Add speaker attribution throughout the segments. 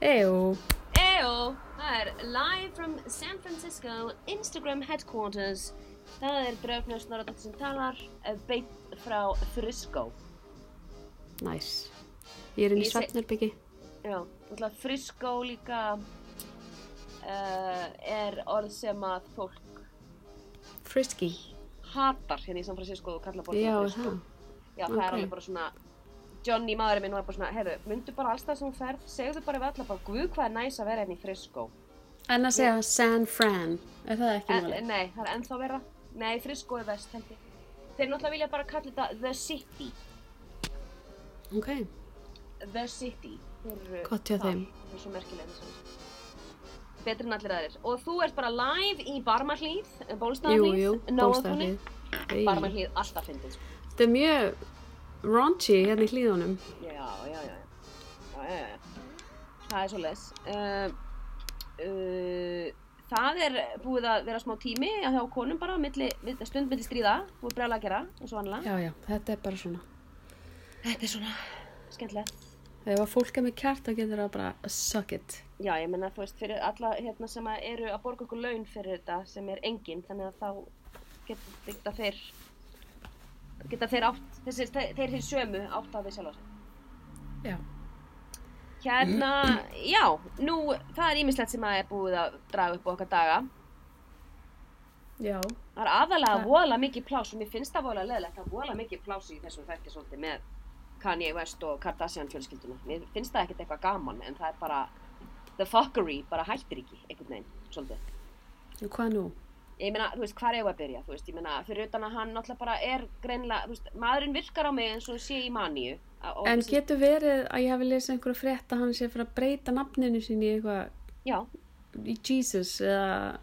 Speaker 1: Ew.
Speaker 2: Eyo, það er live from San Francisco, Instagram headquarters. Það er Draupnir Snorradóttir sem talar, eh, beint frá Frisco.
Speaker 1: Næs. Ég er inn í
Speaker 2: Ég seg-
Speaker 1: svefnherbyggi.
Speaker 2: Já, náttúrulega Frisco líka uh, er orð sem að fólk
Speaker 1: Frisky.
Speaker 2: hatar hérna í San Francisco og kallar borgina
Speaker 1: Já, er
Speaker 2: Frisco.
Speaker 1: það.
Speaker 2: Já, það er
Speaker 1: ok.
Speaker 2: alveg bara svona, Johnny maðurinn minn var bara svona, heyrðu, myndu bara alls það sem hún ferð, segðu bara við alla bara, guð hvað er næs að vera hérna í Frisco.
Speaker 1: En að segja San Fran. Er það ekki
Speaker 2: En,
Speaker 1: máli?
Speaker 2: nei, það er ennþá verra. Nei, Frisco er vest, held ég. Þeir náttúrulega vilja bara kalla þetta The City.
Speaker 1: Ok.
Speaker 2: The City. Þeir eru
Speaker 1: Gott hjá
Speaker 2: þar.
Speaker 1: þeim.
Speaker 2: Þeir eru svo merkilega þess að Betri en allir aðrir. Og þú ert bara live í Barmahlíð,
Speaker 1: Jú,
Speaker 2: Bólstaðarhlíð,
Speaker 1: jú.
Speaker 2: Nóaþúni.
Speaker 1: Bólstaðlið. Hey.
Speaker 2: Barmahlíð, alltaf fyndið, sko.
Speaker 1: Þetta er mjög raunchy hérna í hlýðunum.
Speaker 2: Já, já, já, já. Já, já, já. Það er svo les. Uh, uh, það er búið að vera smá tími að hjá konum bara, milli, milli- stund milli stríða, búið brjálega að gera, eins og annað.
Speaker 1: Já, já, þetta er bara svona.
Speaker 2: Þetta er svona skemmtilegt.
Speaker 1: Ef að fólk er með kjart þá getur það bara suck it.
Speaker 2: Já, ég menna, þú veist, fyrir alla hérna sem að eru að borga okkur laun fyrir þetta sem er engin, þannig að þá get, geta þeir geta þeir átt, þessir, þeir, þeir þeir sömu átt að við sjálfa sig.
Speaker 1: Já.
Speaker 2: Hérna, já, nú, það er ímislegt sem að er búið að draga upp á okkar daga.
Speaker 1: Já.
Speaker 2: Það er aðalega
Speaker 1: Það-
Speaker 2: voðalega mikið pláss og mér finnst það voðalega leðilegt það er voðalega mikið pláss í þessum þætti svolítið með Kanye West og Kardashian fjölskylduna. Mér finnst það ekkert eitthvað gaman en það er bara, the fuckery bara hættir ekki einhvern veginn, svolítið.
Speaker 1: Og hvað nú?
Speaker 2: Ég meina, þú veist, hvar eigum við að byrja, þú veist, ég meina, fyrir utan að hann náttúrulega bara er greinlega, þú veist, maðurinn virkar á mig eins og sé í maníu. að- og-
Speaker 1: En getur verið að ég hafi lesið einhverju frétt að hann sé fyrir að breyta nafninu sín í eitthvað
Speaker 2: Já,
Speaker 1: í Jesus eða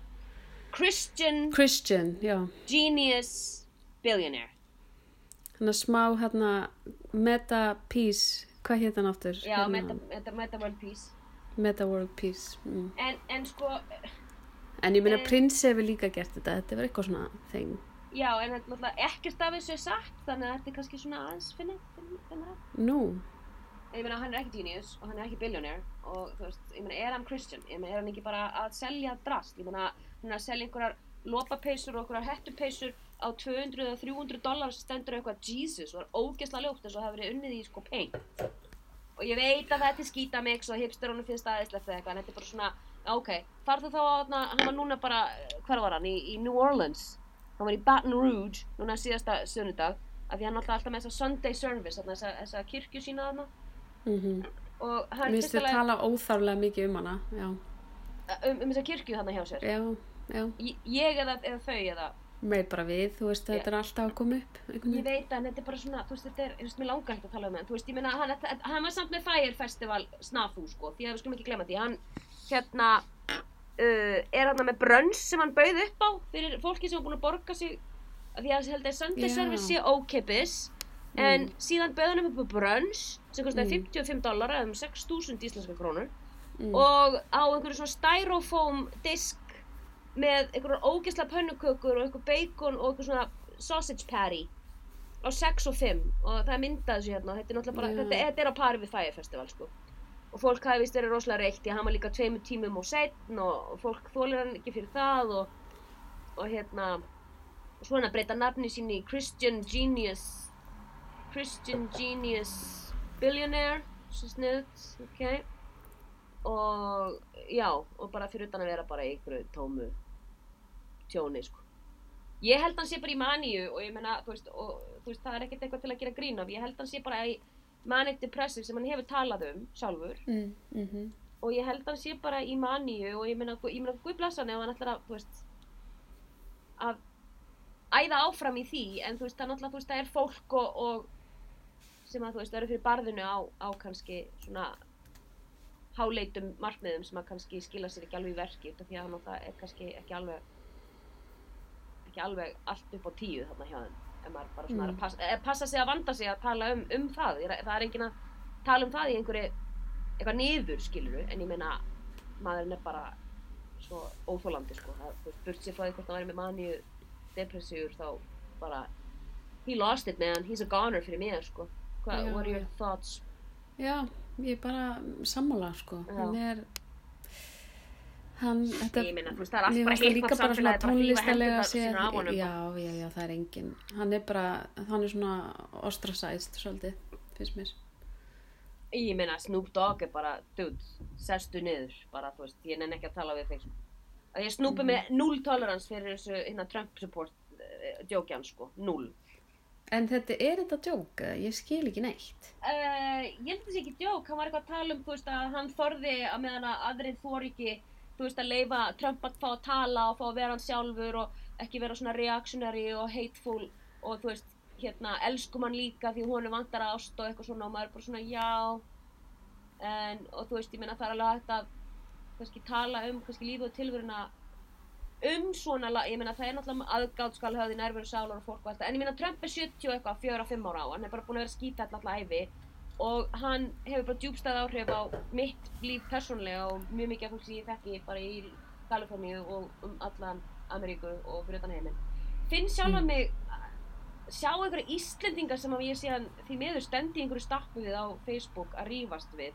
Speaker 2: Christian
Speaker 1: Christian, já.
Speaker 2: Genius Billionaire.
Speaker 1: Þannig að smá hérna Meta Peace, hvað hétt hann aftur?
Speaker 2: Já,
Speaker 1: Hérna,
Speaker 2: Meta, Meta, Meta World Peace.
Speaker 1: Meta World Peace. Mm.
Speaker 2: En, en sko,
Speaker 1: En ég meina
Speaker 2: Eh.
Speaker 1: prins hefur líka gert þetta, þetta var eitthvað svona þing.
Speaker 2: já, en þetta er náttúrulega ekkert af þessu er satt, þannig að þetta er kannski svona aðeins finna, finna, finna það.
Speaker 1: Nú,
Speaker 2: En ég meina, hann er ekki genius og hann er ekki billionaire og, þú veist, ég meina, er hann Christian? Ég meina, er hann ekki bara að selja drast? Ég meina, hann er að selja einhverjar lopapeysur og einhverjar hettupeysur á 200 eða 300 dólar stendur eitthvað Jesus og er ógeðslega ljótt eins og hafa verið unnið í sko paint og ég veit að þetta er skítamix og hipsterónu finnst aðeinslegt eða eitthvað en þetta er bara svona, já, ok, farðu þá að þarna- hann var núna bara, hver var hann, í, í New Orleans hann var í Baton Rouge núna síðasta sunnudag af því hann alltaf alltaf með þessa Sunday service þarna, þessa, þessa kirkju sína þarna
Speaker 1: mm
Speaker 2: og hann
Speaker 1: mér finnst
Speaker 2: fyrsta
Speaker 1: þið
Speaker 2: lagi
Speaker 1: tala óþárlega mikið um hana, já.
Speaker 2: um, um þessa kirkju þarna hjá sér
Speaker 1: Já, já,
Speaker 2: Ég- ég eða, eða þau eða
Speaker 1: meir bara við, þú veist,
Speaker 2: Já.
Speaker 1: þetta er alltaf að koma upp. einhvern
Speaker 2: ég
Speaker 1: veginn.
Speaker 2: veit að þetta er bara svona þú veist þetta er, þú veist, mér langar ekki að tala um það þú veist, ég meina, hann, hann var samt með Fire Festival snafú, sko, því að við skulum ekki glemma því hann, hérna uh, er hann með brönns sem hann bauð upp á fyrir fólki sem var búin að borga sig af því að ég held að Sunday
Speaker 1: Já. Mm.
Speaker 2: Service sé ókipis en síðan bauð hann upp á brönns sem kostiði 55 dólar eða um 6.000 íslenska krónur
Speaker 1: Mm.
Speaker 2: og á einhverju svona styrofoam disk með einhverjar ógeðslega pönnukökur og einhver bacon og einhver svona sausage patty á 6 og 5 og það er myndað þessu hérna og þetta er náttúrulega bara,
Speaker 1: Já.
Speaker 2: þetta, þetta er á pari við Fire Festival sko og fólk hafi vist verið rosalega reykt því að hann var líka tveimur tímum og setn og og fólk þólir hann ekki fyrir það og, og hérna og svona breyta nafni sín í Christian Genius Christian Genius Billionaire svo sniðt, ok og já, og bara fyrir utan að vera bara í einhverju tómu tjóni sko Ég held hann sé bara í maníu og ég meina, þú veist, og, þú veist, það er ekkert eitthvað til að gera grín af. Ég held hann sé bara í manic depressive sem hann hefur talað um sjálfur
Speaker 1: Mm, mm -hmm.
Speaker 2: og ég held hann sé bara í maníu og ég meina, gu- ég meina, guð blessa hann ef hann ætlar að, þú veist, að æða áfram í því en þú veist, það er náttúrulega, þú veist, það er fólk og, og sem að, þú veist, eru fyrir barðinu á, á kannski svona háleitum markmiðum sem að kannski skila sér ekki alveg í verki út af því að hann náttúrulega er kannski ekki alveg ekki alveg allt upp á tíu þarna hjá þeim ef maður bara svona er
Speaker 1: Mm.
Speaker 2: að passa, eh, passa sig að vanda sig að tala um, um það Ég er- það er enginn að tala um það í einhverju eitthvað niður skiluru en ég meina maðurinn er bara svo óþólandi sko það, þú veist, burt sér frá því hvort það væri með maníu depressíur þá bara he lost it man, he's a goner fyrir mér sko Hva,
Speaker 1: Já,
Speaker 2: what are your
Speaker 1: já.
Speaker 2: thoughts
Speaker 1: Já, ég er bara sammála sko
Speaker 2: Já.
Speaker 1: hann er hann, þetta
Speaker 2: ég minna, þú veist, það er allt
Speaker 1: mér
Speaker 2: bara
Speaker 1: fannst það líka
Speaker 2: hiphop
Speaker 1: bara svona
Speaker 2: samfélagið, bara hlýfa
Speaker 1: tónlistalega
Speaker 2: hendurnar
Speaker 1: séð,
Speaker 2: sínar af honum.
Speaker 1: já, já, já, það er engin hann er bara, hann er svona ostracized svolítið, finnst mér
Speaker 2: ég minna, Snoop Dogg er bara dude, sestu niður, bara þú veist ég nenni ekki að tala við þig sko. að ég Snoop
Speaker 1: Mhm.
Speaker 2: er með null tolerance fyrir þessu hérna Trump support uh, djókjan sko, null
Speaker 1: en þetta, er þetta djók? eða? Ég skil ekki neitt
Speaker 2: Uh, ég held að það sé ekki djók, hann var eitthvað að tala um þú veist að hann þorði að meðan að aðrið þor ekki, þú veist að leifa Trump að fá að tala og fá að vera hann sjálfur og ekki vera svona reactionary og hateful og þú veist hérna elskum hann líka því hún vantar ást og eitthvað svona og maður er bara svona já en og þú veist ég meina það er alveg hægt að kannski tala um kannski lífið og tilveruna um svona, la- ég meina það er náttúrulega aðgátt skal höfði nærveru sálar og fólk og allt það en ég meina Trump er 70 og eitthvað, 4-5 ára á hann er bara búin að vera skýta alltaf æfi og hann hefur bara djúbstæð áhrif á mitt líf persónlega og mjög mikið af fólk sem ég þekki bara í Kaliforníu og um allan Ameríku og fyrir utan heiminn finn sjálfa
Speaker 1: Mm.
Speaker 2: mig sjá einhverja Íslendingar sem að ég sé hann því miður stendi í einhverju stappu við á Facebook að rífast við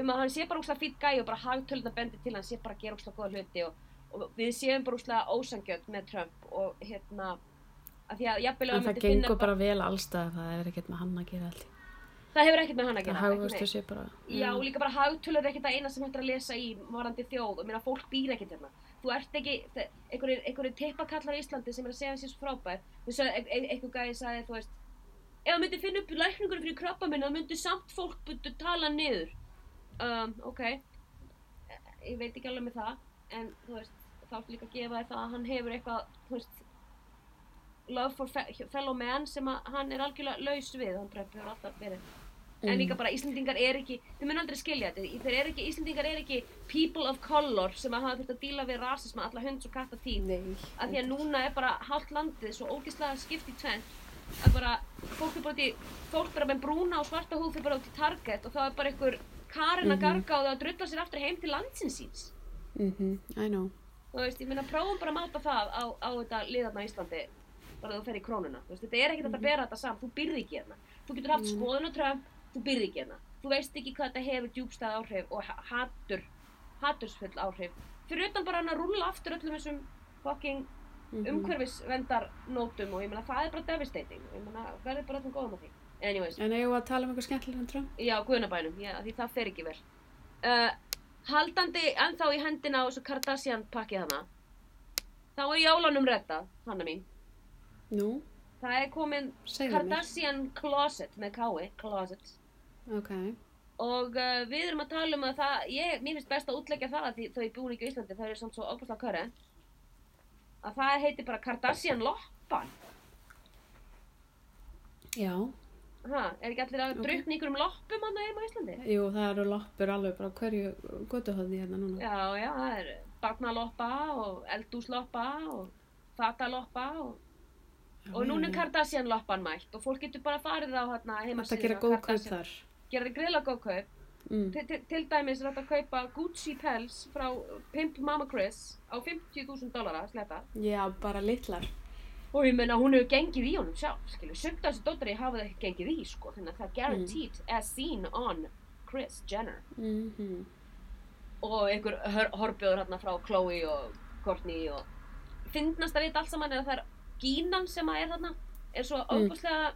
Speaker 2: um að hann sé bara úkslega fýtt gæi og bara hagtöluna bendir til að hann sé bara að gera úkslega góða hluti og, og við séum bara úkslega ósangjöld með Trump og hérna að því að jafnvel
Speaker 1: en
Speaker 2: ef hann
Speaker 1: það
Speaker 2: myndi finna
Speaker 1: gengur bara vel allstað það er ekkert með hann að gera allt
Speaker 2: það hefur ekkert með hann að
Speaker 1: það
Speaker 2: gera ekki neitt.
Speaker 1: hagvöxtu sé bara Mm.
Speaker 2: Já, og líka bara hagtölur er ekkert það eina sem hægt er að lesa í varandi þjóð og mér að fólk býr ekkert hérna. Þú ert ekki, þe- einhverjir einhverjir tippakallar í Íslandi sem er að segja þessi svo frábær. Þú sagði, ein- ein- einhver gæði sagði, þú veist, ef það myndi finna upp lækningunum fyrir krabba minna, það myndi samt fólk byrju tala hann niður. Um, ok, Eh, ég veit ekki alveg með það, en þú veist, þá ertu líka að gefa þér það að hann hefur eitthvað, þú veist, love for fe- fellow man sem að hann er algjörlega laus við, hann Trump hefur alltaf verið en líka bara Íslendingar er ekki þau mun aldrei skilja þetta, þeir eru ekki Íslendingar er ekki people of color sem að hafa þurft að díla við rasisma alla hunds og katta tíð
Speaker 1: Nei.
Speaker 2: af því að núna er bara hálft landið svo ógeðslega skipt í tvent að bara fólk er bara út í fólk bara með brúna og svarta húf er bara út í target og þá er bara einhver Karin að
Speaker 1: Mhm.
Speaker 2: garga og það að drulla sér aftur heim til landsins síns
Speaker 1: Mhm, I know
Speaker 2: þú veist, ég meina prófum bara að máta það á, á þetta liðarna á Íslandi bara þú fer í krónuna, þú veist, þetta er ekkert hægt að bera þetta saman, þú byrði ekki hérna þú getur haft
Speaker 1: Mhm.
Speaker 2: skoðun og Trump, þú byrði ekki hérna þú veist ekki hvað þetta hefur djúbstæð áhrif og ha- hatur, hatursfull áhrif fyrir utan bara hann að rúlla aftur öllum þessum fucking
Speaker 1: Mhm.
Speaker 2: Um umhverfisvendarnótum og ég meina það er bara devastating og ég meina verður bara öllum góðum á því anyways,
Speaker 1: en eigum við að tala um eitthvað skemmtilega en trömm
Speaker 2: Já, guðnabænum, já, af því það fer ekki vel. Uh, haldandi ennþá í hendina á þessu Kardashian pakki hana, þá er jólunum reddað, hanna mín.
Speaker 1: nú,
Speaker 2: Það er komin
Speaker 1: segðu mér
Speaker 2: Kardashian Closet með kái, Closet.
Speaker 1: ok,
Speaker 2: Og uh, við erum að tala um að það, ég, mér finnst best að útleggja það af því þau búin ekki á Íslandi, það er samt svo óbúslega körre. Að það heitir bara Kardashian Loppan.
Speaker 1: já
Speaker 2: Ha, er ekki allir að
Speaker 1: Ok.
Speaker 2: okay. drukna ykkur um loppum hann heima á Íslandi?
Speaker 1: jú, það eru loppur alveg bara á hverju götuhöfði hérna núna
Speaker 2: Já, já, það er barnaloppa og eldúsloppa og fataloppa og, og núna er Kardashian-loppan mætt og fólk getur bara farið á hérna heima
Speaker 1: Þetta gera góð kaup þar.
Speaker 2: Gera þið greiðlega góð kaup.
Speaker 1: Mm.
Speaker 2: Til, til, til dæmis er þetta að kaupa Gucci pels frá Pimp Mama Chris á 50.000 dollara, sletta.
Speaker 1: Já, bara litlar.
Speaker 2: Og ég meina hún hefur gengið í honum sjálf, skilju. Sumt af þessu dóttari hafa það ekki gengið í, sko. Þannig að það er guaranteed as seen on Chris Jenner.
Speaker 1: Mm -hmm.
Speaker 2: og einhver hör- horbjóður hérna frá Chloe og Courtney og fyndnast að vita allt saman er að það er gínan sem að er þarna er svo óbúslega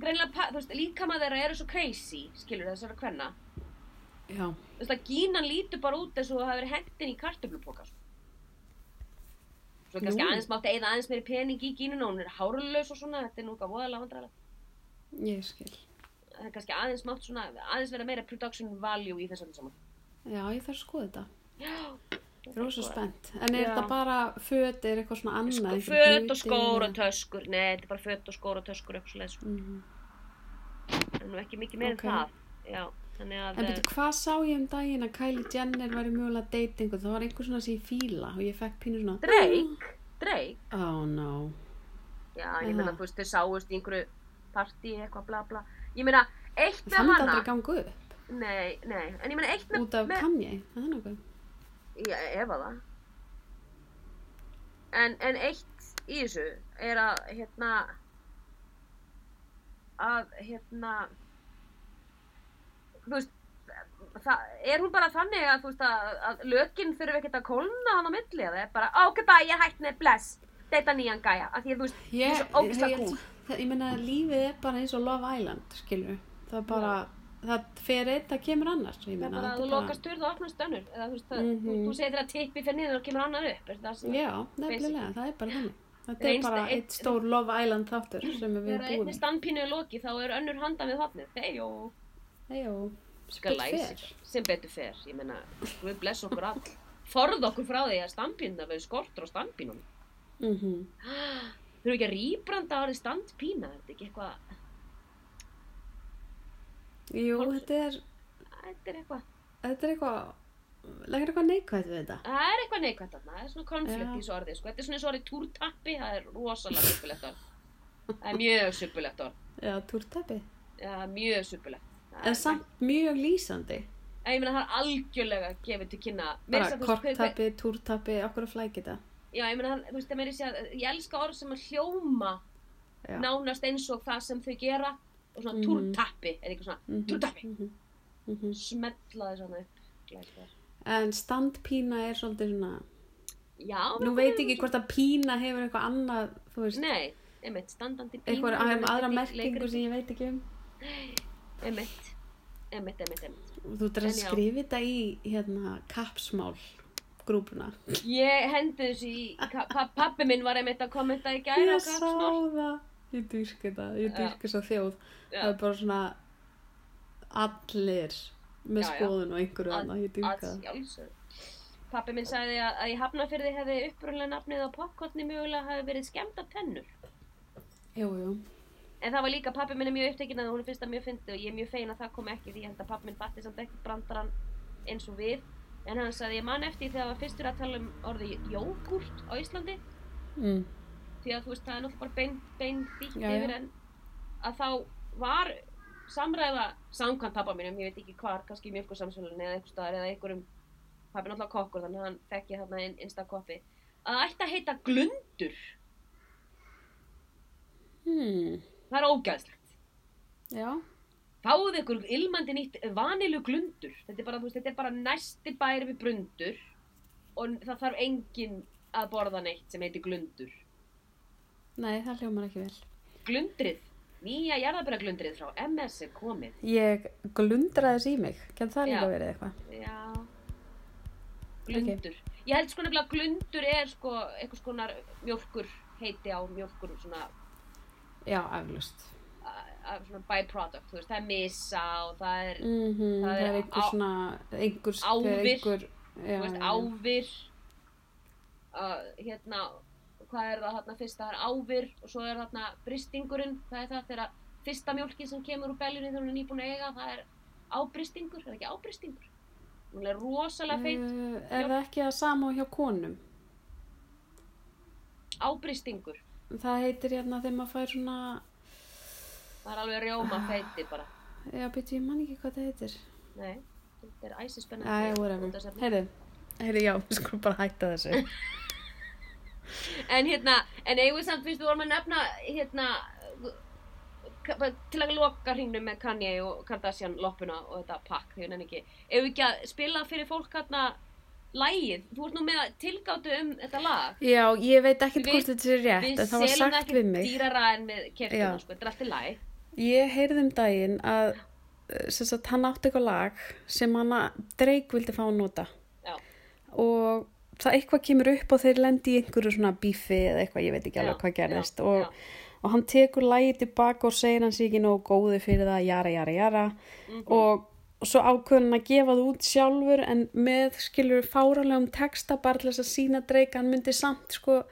Speaker 2: greinilega, pa- þú veist, líkama þeirra eru svo crazy, skilur þessara kvenna
Speaker 1: Já,
Speaker 2: þú veist að gínan lítur bara út eins og það hafi verið hendin í kartöflupoka sko. svo kannski
Speaker 1: Nú.
Speaker 2: aðeins mátti eða aðeins meiri pening í gínuna og hún er hárlaus og svona, þetta er nú eitthvað voðalega vandræðilegt
Speaker 1: ég skil.
Speaker 2: það er kannski aðeins mátt svona, aðeins vera meira production value í þessu öllu saman
Speaker 1: Já, ég þarf að skoða þetta.
Speaker 2: já,
Speaker 1: Ég er rosa spennt. En er
Speaker 2: Já.
Speaker 1: þetta bara föt, er eitthvað svona annað?
Speaker 2: sko,
Speaker 1: einhver
Speaker 2: föt
Speaker 1: hluti
Speaker 2: og skór og
Speaker 1: eða-
Speaker 2: töskur nei, þetta er bara föt og skór og töskur eitthvað svoleiðis, sko.
Speaker 1: Mhm.
Speaker 2: það er nú ekki mikið meira
Speaker 1: Ok.
Speaker 2: okay. það já, þannig að eh,
Speaker 1: En betur, hvað sá ég um daginn að Kylie Jenner væri mögulega datingu? Það var einhver svona sem ég fíla og ég fekk pínu svona...
Speaker 2: Drake, Drake
Speaker 1: Oh no.
Speaker 2: já,
Speaker 1: Aha.
Speaker 2: ég meina, þú veist, þau sáust í einhverju partí eitthvað bla bla ég meina, eitt
Speaker 1: Ég
Speaker 2: með
Speaker 1: fann þetta
Speaker 2: hana
Speaker 1: aldrei gangu upp
Speaker 2: nei, nei, en ég meina eitt með,
Speaker 1: út af
Speaker 2: með
Speaker 1: Kanye. Það er nokkuð.
Speaker 2: ég efa það en, en eitt í þessu er að hérna að hérna þú veist það, er hún bara þannig að þú veist að, að lökin þurfi ekkert að kólna hann á milli eða er bara ok bæ ég er hætt með bless þetta nýjan gæja að því að þú veist þú er
Speaker 1: ég,
Speaker 2: svo ógisla
Speaker 1: ég,
Speaker 2: kúl
Speaker 1: það- ég meina lífið er bara eins og Love Island skilur það er bara það fer eitt að kemur annars ég
Speaker 2: Það er
Speaker 1: meina
Speaker 2: bara að
Speaker 1: þetta
Speaker 2: þú
Speaker 1: er
Speaker 2: lokast sturð og opnast önnur eða þú veist það,
Speaker 1: Mhm.
Speaker 2: þú, þú segir þér að tippi fyrir niður og kemur annar upp er það sem
Speaker 1: já, nefnilega, það er bara þannig þetta er
Speaker 2: Reynst-
Speaker 1: bara
Speaker 2: einn-
Speaker 1: eitt stór Love Island þáttur sem við
Speaker 2: þegar
Speaker 1: búum
Speaker 2: einni standpínu er lokið þá er önnur handan við hopnið þeir og
Speaker 1: Ejó,
Speaker 2: skal
Speaker 1: spil
Speaker 2: læs
Speaker 1: fer
Speaker 2: sem betur fer ég meina við bless okkur all forð okkur frá því að standpínuna verður skortur á standpínunum
Speaker 1: Mhm.
Speaker 2: þurfum ekki að rýbranda árið standpína þetta er ekki eitthvað
Speaker 1: jú, þetta er
Speaker 2: þetta er eitthvað
Speaker 1: þetta er eitthvað það er eitthvað neikvæð við þetta
Speaker 2: það er eitthvað neikvæmt þarna það er svona konflikt
Speaker 1: Já.
Speaker 2: í þessu orði sko. þetta er svona eins og orðið túrtappi það er rosalega suppulegt orð það er mjög suppulegt orð
Speaker 1: já, túrtæpi
Speaker 2: það er mjög suppulegt Það er-
Speaker 1: en samt mjög lýsandi
Speaker 2: En ég meina það er algjörlega gefið til kynna Meira
Speaker 1: bara
Speaker 2: að segja, þú veist, hver- hver-
Speaker 1: korttæpi, túrtæpi, okkur að flækja þetta
Speaker 2: Já, ég meina, það- þú veist, það meira að segja, ég elska orð sem að hljóma
Speaker 1: Já.
Speaker 2: nánast eins og það sem þau gera og svona
Speaker 1: Mhm.
Speaker 2: túrtappi, er eitthvað svona
Speaker 1: Mhm,
Speaker 2: túrtappi,
Speaker 1: mhm, mhm.
Speaker 2: smetla þess svona upp glæsilega.
Speaker 1: en standpína er svolítið svona
Speaker 2: Já,
Speaker 1: nú veit ég ekki hvort að pína hefur eitthvað annað þú veist,
Speaker 2: Nei, einmitt, standandi bíl
Speaker 1: eitthvað að- aðra merkingu sem ég veit ekki um
Speaker 2: Einmitt, einmitt, einmitt, einmitt
Speaker 1: þú ert að
Speaker 2: En já.
Speaker 1: skrifa þetta í hérna kapsmál grúpuna
Speaker 2: Ég hendi þessu í, ka- pa- pabbi minn var einmitt að kommenta í gæra
Speaker 1: ég sá það ég dyrka það, ég
Speaker 2: Já.
Speaker 1: dyrka svo þjóð það er bara svona allir með
Speaker 2: Já, já.
Speaker 1: skoðun og einhverju
Speaker 2: Að-
Speaker 1: annað, ég dyrka
Speaker 2: að
Speaker 1: það
Speaker 2: sjálfsögðu. Pappi minn sagði að, að í Hafnarfyrði hefði upprunlega nafnið á popkorni mögulega hafi verið skemmta tennur.
Speaker 1: jú, jú,
Speaker 2: En það var líka, pappi minn er mjög upptekinn að hún finnst það mjög fyndið og ég er mjög fegin að það kom ekki því ég held að pappi minn fatti samt ekki brandaran eins og við. En hann sagði, ég man eftir því þegar var fyrstur að tala um orðið jógurt á Íslandi
Speaker 1: mm.
Speaker 2: því að þú veist, það er náttúrulega bara bein, bein þýtt
Speaker 1: Já, já.
Speaker 2: yfir en að þá var samræða samkvæmt pappa mínum, ég veit ekki hvar, kannski í mjölkursamsvölunni eða einhver staðar eða einhverjum pappi er náttúrulega kokkur, þannig að hann fekk ég þarna inn, innsta koppi að það ætti að heita glundur
Speaker 1: Hmm.
Speaker 2: það er ógæðslegt
Speaker 1: já
Speaker 2: fáðu ykkur ilmandi nýtt vanilu glundur þetta er bara, þú veist, þetta er bara næsti bær við brundur og það þarf enginn að borða neitt sem heitir glundur
Speaker 1: nei, það hljómar ekki vel
Speaker 2: glundrið, nýja jarðabæraglundrið frá MS er komið
Speaker 1: ég glundraði þess í mig kann það líka
Speaker 2: Já.
Speaker 1: verið eitthvað
Speaker 2: Já Glundur Ég held sko nefnilega að glundur er sko einhvers konar mjólkur heiti á mjólkur svona,
Speaker 1: já, aflust
Speaker 2: a- a- svona byproduct, þú veist, það er misa og það er,
Speaker 1: mm
Speaker 2: Það
Speaker 1: það
Speaker 2: er
Speaker 1: er einhver
Speaker 2: á-
Speaker 1: svona einhver,
Speaker 2: Ávir.
Speaker 1: einhver já,
Speaker 2: þú veist,
Speaker 1: já, já.
Speaker 2: ávir uh, hérna hvað er það þarna fyrst, það er ávir og svo er þarna bristingurinn það er það þegar fyrsta mjólkin sem kemur úr beljunni þegar hún er nýbúin að eiga, það er ábristingur, er það ekki ábristingur hún er rosalega feit
Speaker 1: Uh, er það ekki að sama og hjá konum
Speaker 2: ábristingur,
Speaker 1: það heitir hérna þegar maður fær svona
Speaker 2: það er alveg rjóma
Speaker 1: Ah.
Speaker 2: feiti bara
Speaker 1: já, byrju, ég man ekki hvað það heitir
Speaker 2: Nei, þetta er
Speaker 1: Æ,
Speaker 2: æsispennandi
Speaker 1: whatever, heyrðu heyrðu, já, við skulum bara hætta þessu
Speaker 2: En hérna, en eigum við samt fyrst við vorum að nefna hérna k- bara til að loka hringnum með Kanye og Kardashian loppuna og þetta pakk því hún enn ekki Eigum við ekki að spila fyrir fólk hérna lagið, þú ert nú með tilgáttu um þetta lag
Speaker 1: já, ég veit ekkert
Speaker 2: Við-
Speaker 1: hvort þetta er rétt en það var
Speaker 2: selum
Speaker 1: sagt
Speaker 2: ekki
Speaker 1: við mig
Speaker 2: dýrara en með
Speaker 1: Já.
Speaker 2: keftina, sko, þetta er allt í lagi
Speaker 1: Ég heyrði um daginn að eh, sem sagt, hann átti eitthvað lag sem hann að Drake vildi fá að nota
Speaker 2: Já,
Speaker 1: og það eitthvað kemur upp og þeir lendi í einhverju svona bífi eða eitthvað, ég veit ekki alveg
Speaker 2: Já,
Speaker 1: hvað gerðist
Speaker 2: já, já.
Speaker 1: og, og hann tekur lagið tilbaka og segir hann sé ekki nógu góði fyrir það, jara, jara, jara
Speaker 2: Mhm.
Speaker 1: og, og svo ákveður hann að gefa það út sjálfur en með skilur fáralegum texta bara til þess að sína Drake hann myndi samt sko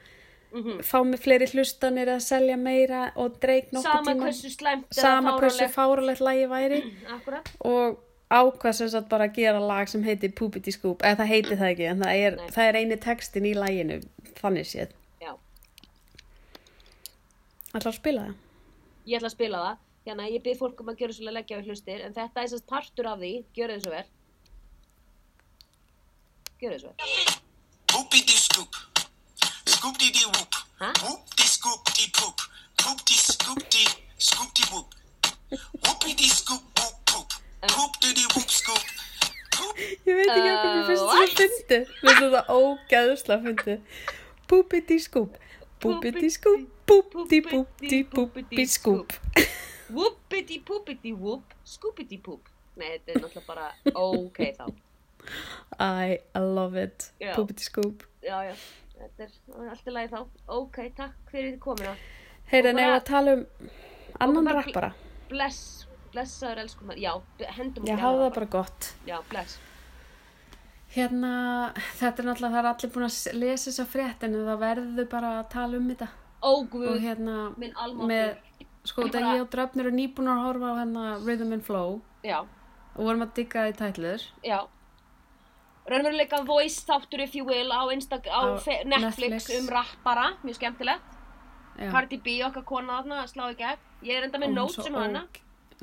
Speaker 2: Mhm.
Speaker 1: fá með fleiri hlustanir að selja meira og Drake nokkuð
Speaker 2: sama
Speaker 1: tíma
Speaker 2: hversu slæmt eða
Speaker 1: sama hversu
Speaker 2: fáránlegt-
Speaker 1: fáralegt lagi væri
Speaker 2: Akkúrat.
Speaker 1: og ákvað sem sagt bara að gera lag sem heitir Poopity Scoop, eða það heitir það ekki en það er,
Speaker 2: Nei.
Speaker 1: það er eini textin í laginu þannig séð,
Speaker 2: Já,
Speaker 1: alltaf að spila það
Speaker 2: ég ætla að spila það hérna ég byrð fólk um að gjöra svolítið að leggja við hlustir en þetta er sérst partur af því, gjöra þið svo vel Gjörðu svo.
Speaker 3: Boopity scoop. Scoop dee dee whoop.
Speaker 2: Huh?
Speaker 3: Whoop dee scoop dee poop. Poop dee scoop dee scoop dee whoop. Whoopity scoop boop poop. Poop dee dee whoop scoop. Poop
Speaker 1: Ég veit ekki okkur mér
Speaker 2: Uh,
Speaker 1: finnst það fyndi. Mér finnst það ógæðsla fyndi. Búbiti skúb, búbiti skúb, búbiti búbiti búbiti skúb.
Speaker 2: Whoopity poopity whoop, scoopity poop. Nei, þetta er náttúrulega bara, ok þá.
Speaker 1: I love it.
Speaker 2: Já.
Speaker 1: Búbiti skúb.
Speaker 2: Já, já, þetta er allt í lagi þá. Ok, takk fyrir komina.
Speaker 1: Heyrðu,
Speaker 2: Og
Speaker 1: en
Speaker 2: bara-
Speaker 1: ef að tala um annan
Speaker 2: bara-
Speaker 1: rappara.
Speaker 2: Bless, blessaður elskum maður. Já, hendum
Speaker 1: Ég
Speaker 2: okkur
Speaker 1: hafa
Speaker 2: annað
Speaker 1: það bara gott.
Speaker 2: Já, bless.
Speaker 1: Hérna, þetta er náttúrulega, það er allir búin að s- lesa þessa frétt en það verður bara að tala um þetta.
Speaker 2: Ó, guð,
Speaker 1: Og hérna,
Speaker 2: Mm. minn almáttur.
Speaker 1: með, sko, þetta
Speaker 2: Bara-
Speaker 1: ég og Drafnir og nýbúin að horfa á hérna Rhythm and Flow
Speaker 2: Já,
Speaker 1: og vorum að digga það í tætlur.
Speaker 2: já. Raunveruleika voice þáttur, if you will, á, Instag á
Speaker 1: Á
Speaker 2: fe- Netflix,
Speaker 1: Netflix.
Speaker 2: um rappara. Mjög skemmtilegt.
Speaker 1: Já.
Speaker 2: Cardi B, okkar kona þarna, að slá í gegn. Ég er enda með
Speaker 1: Ó,
Speaker 2: notes
Speaker 1: svo
Speaker 2: um hana.
Speaker 1: óg-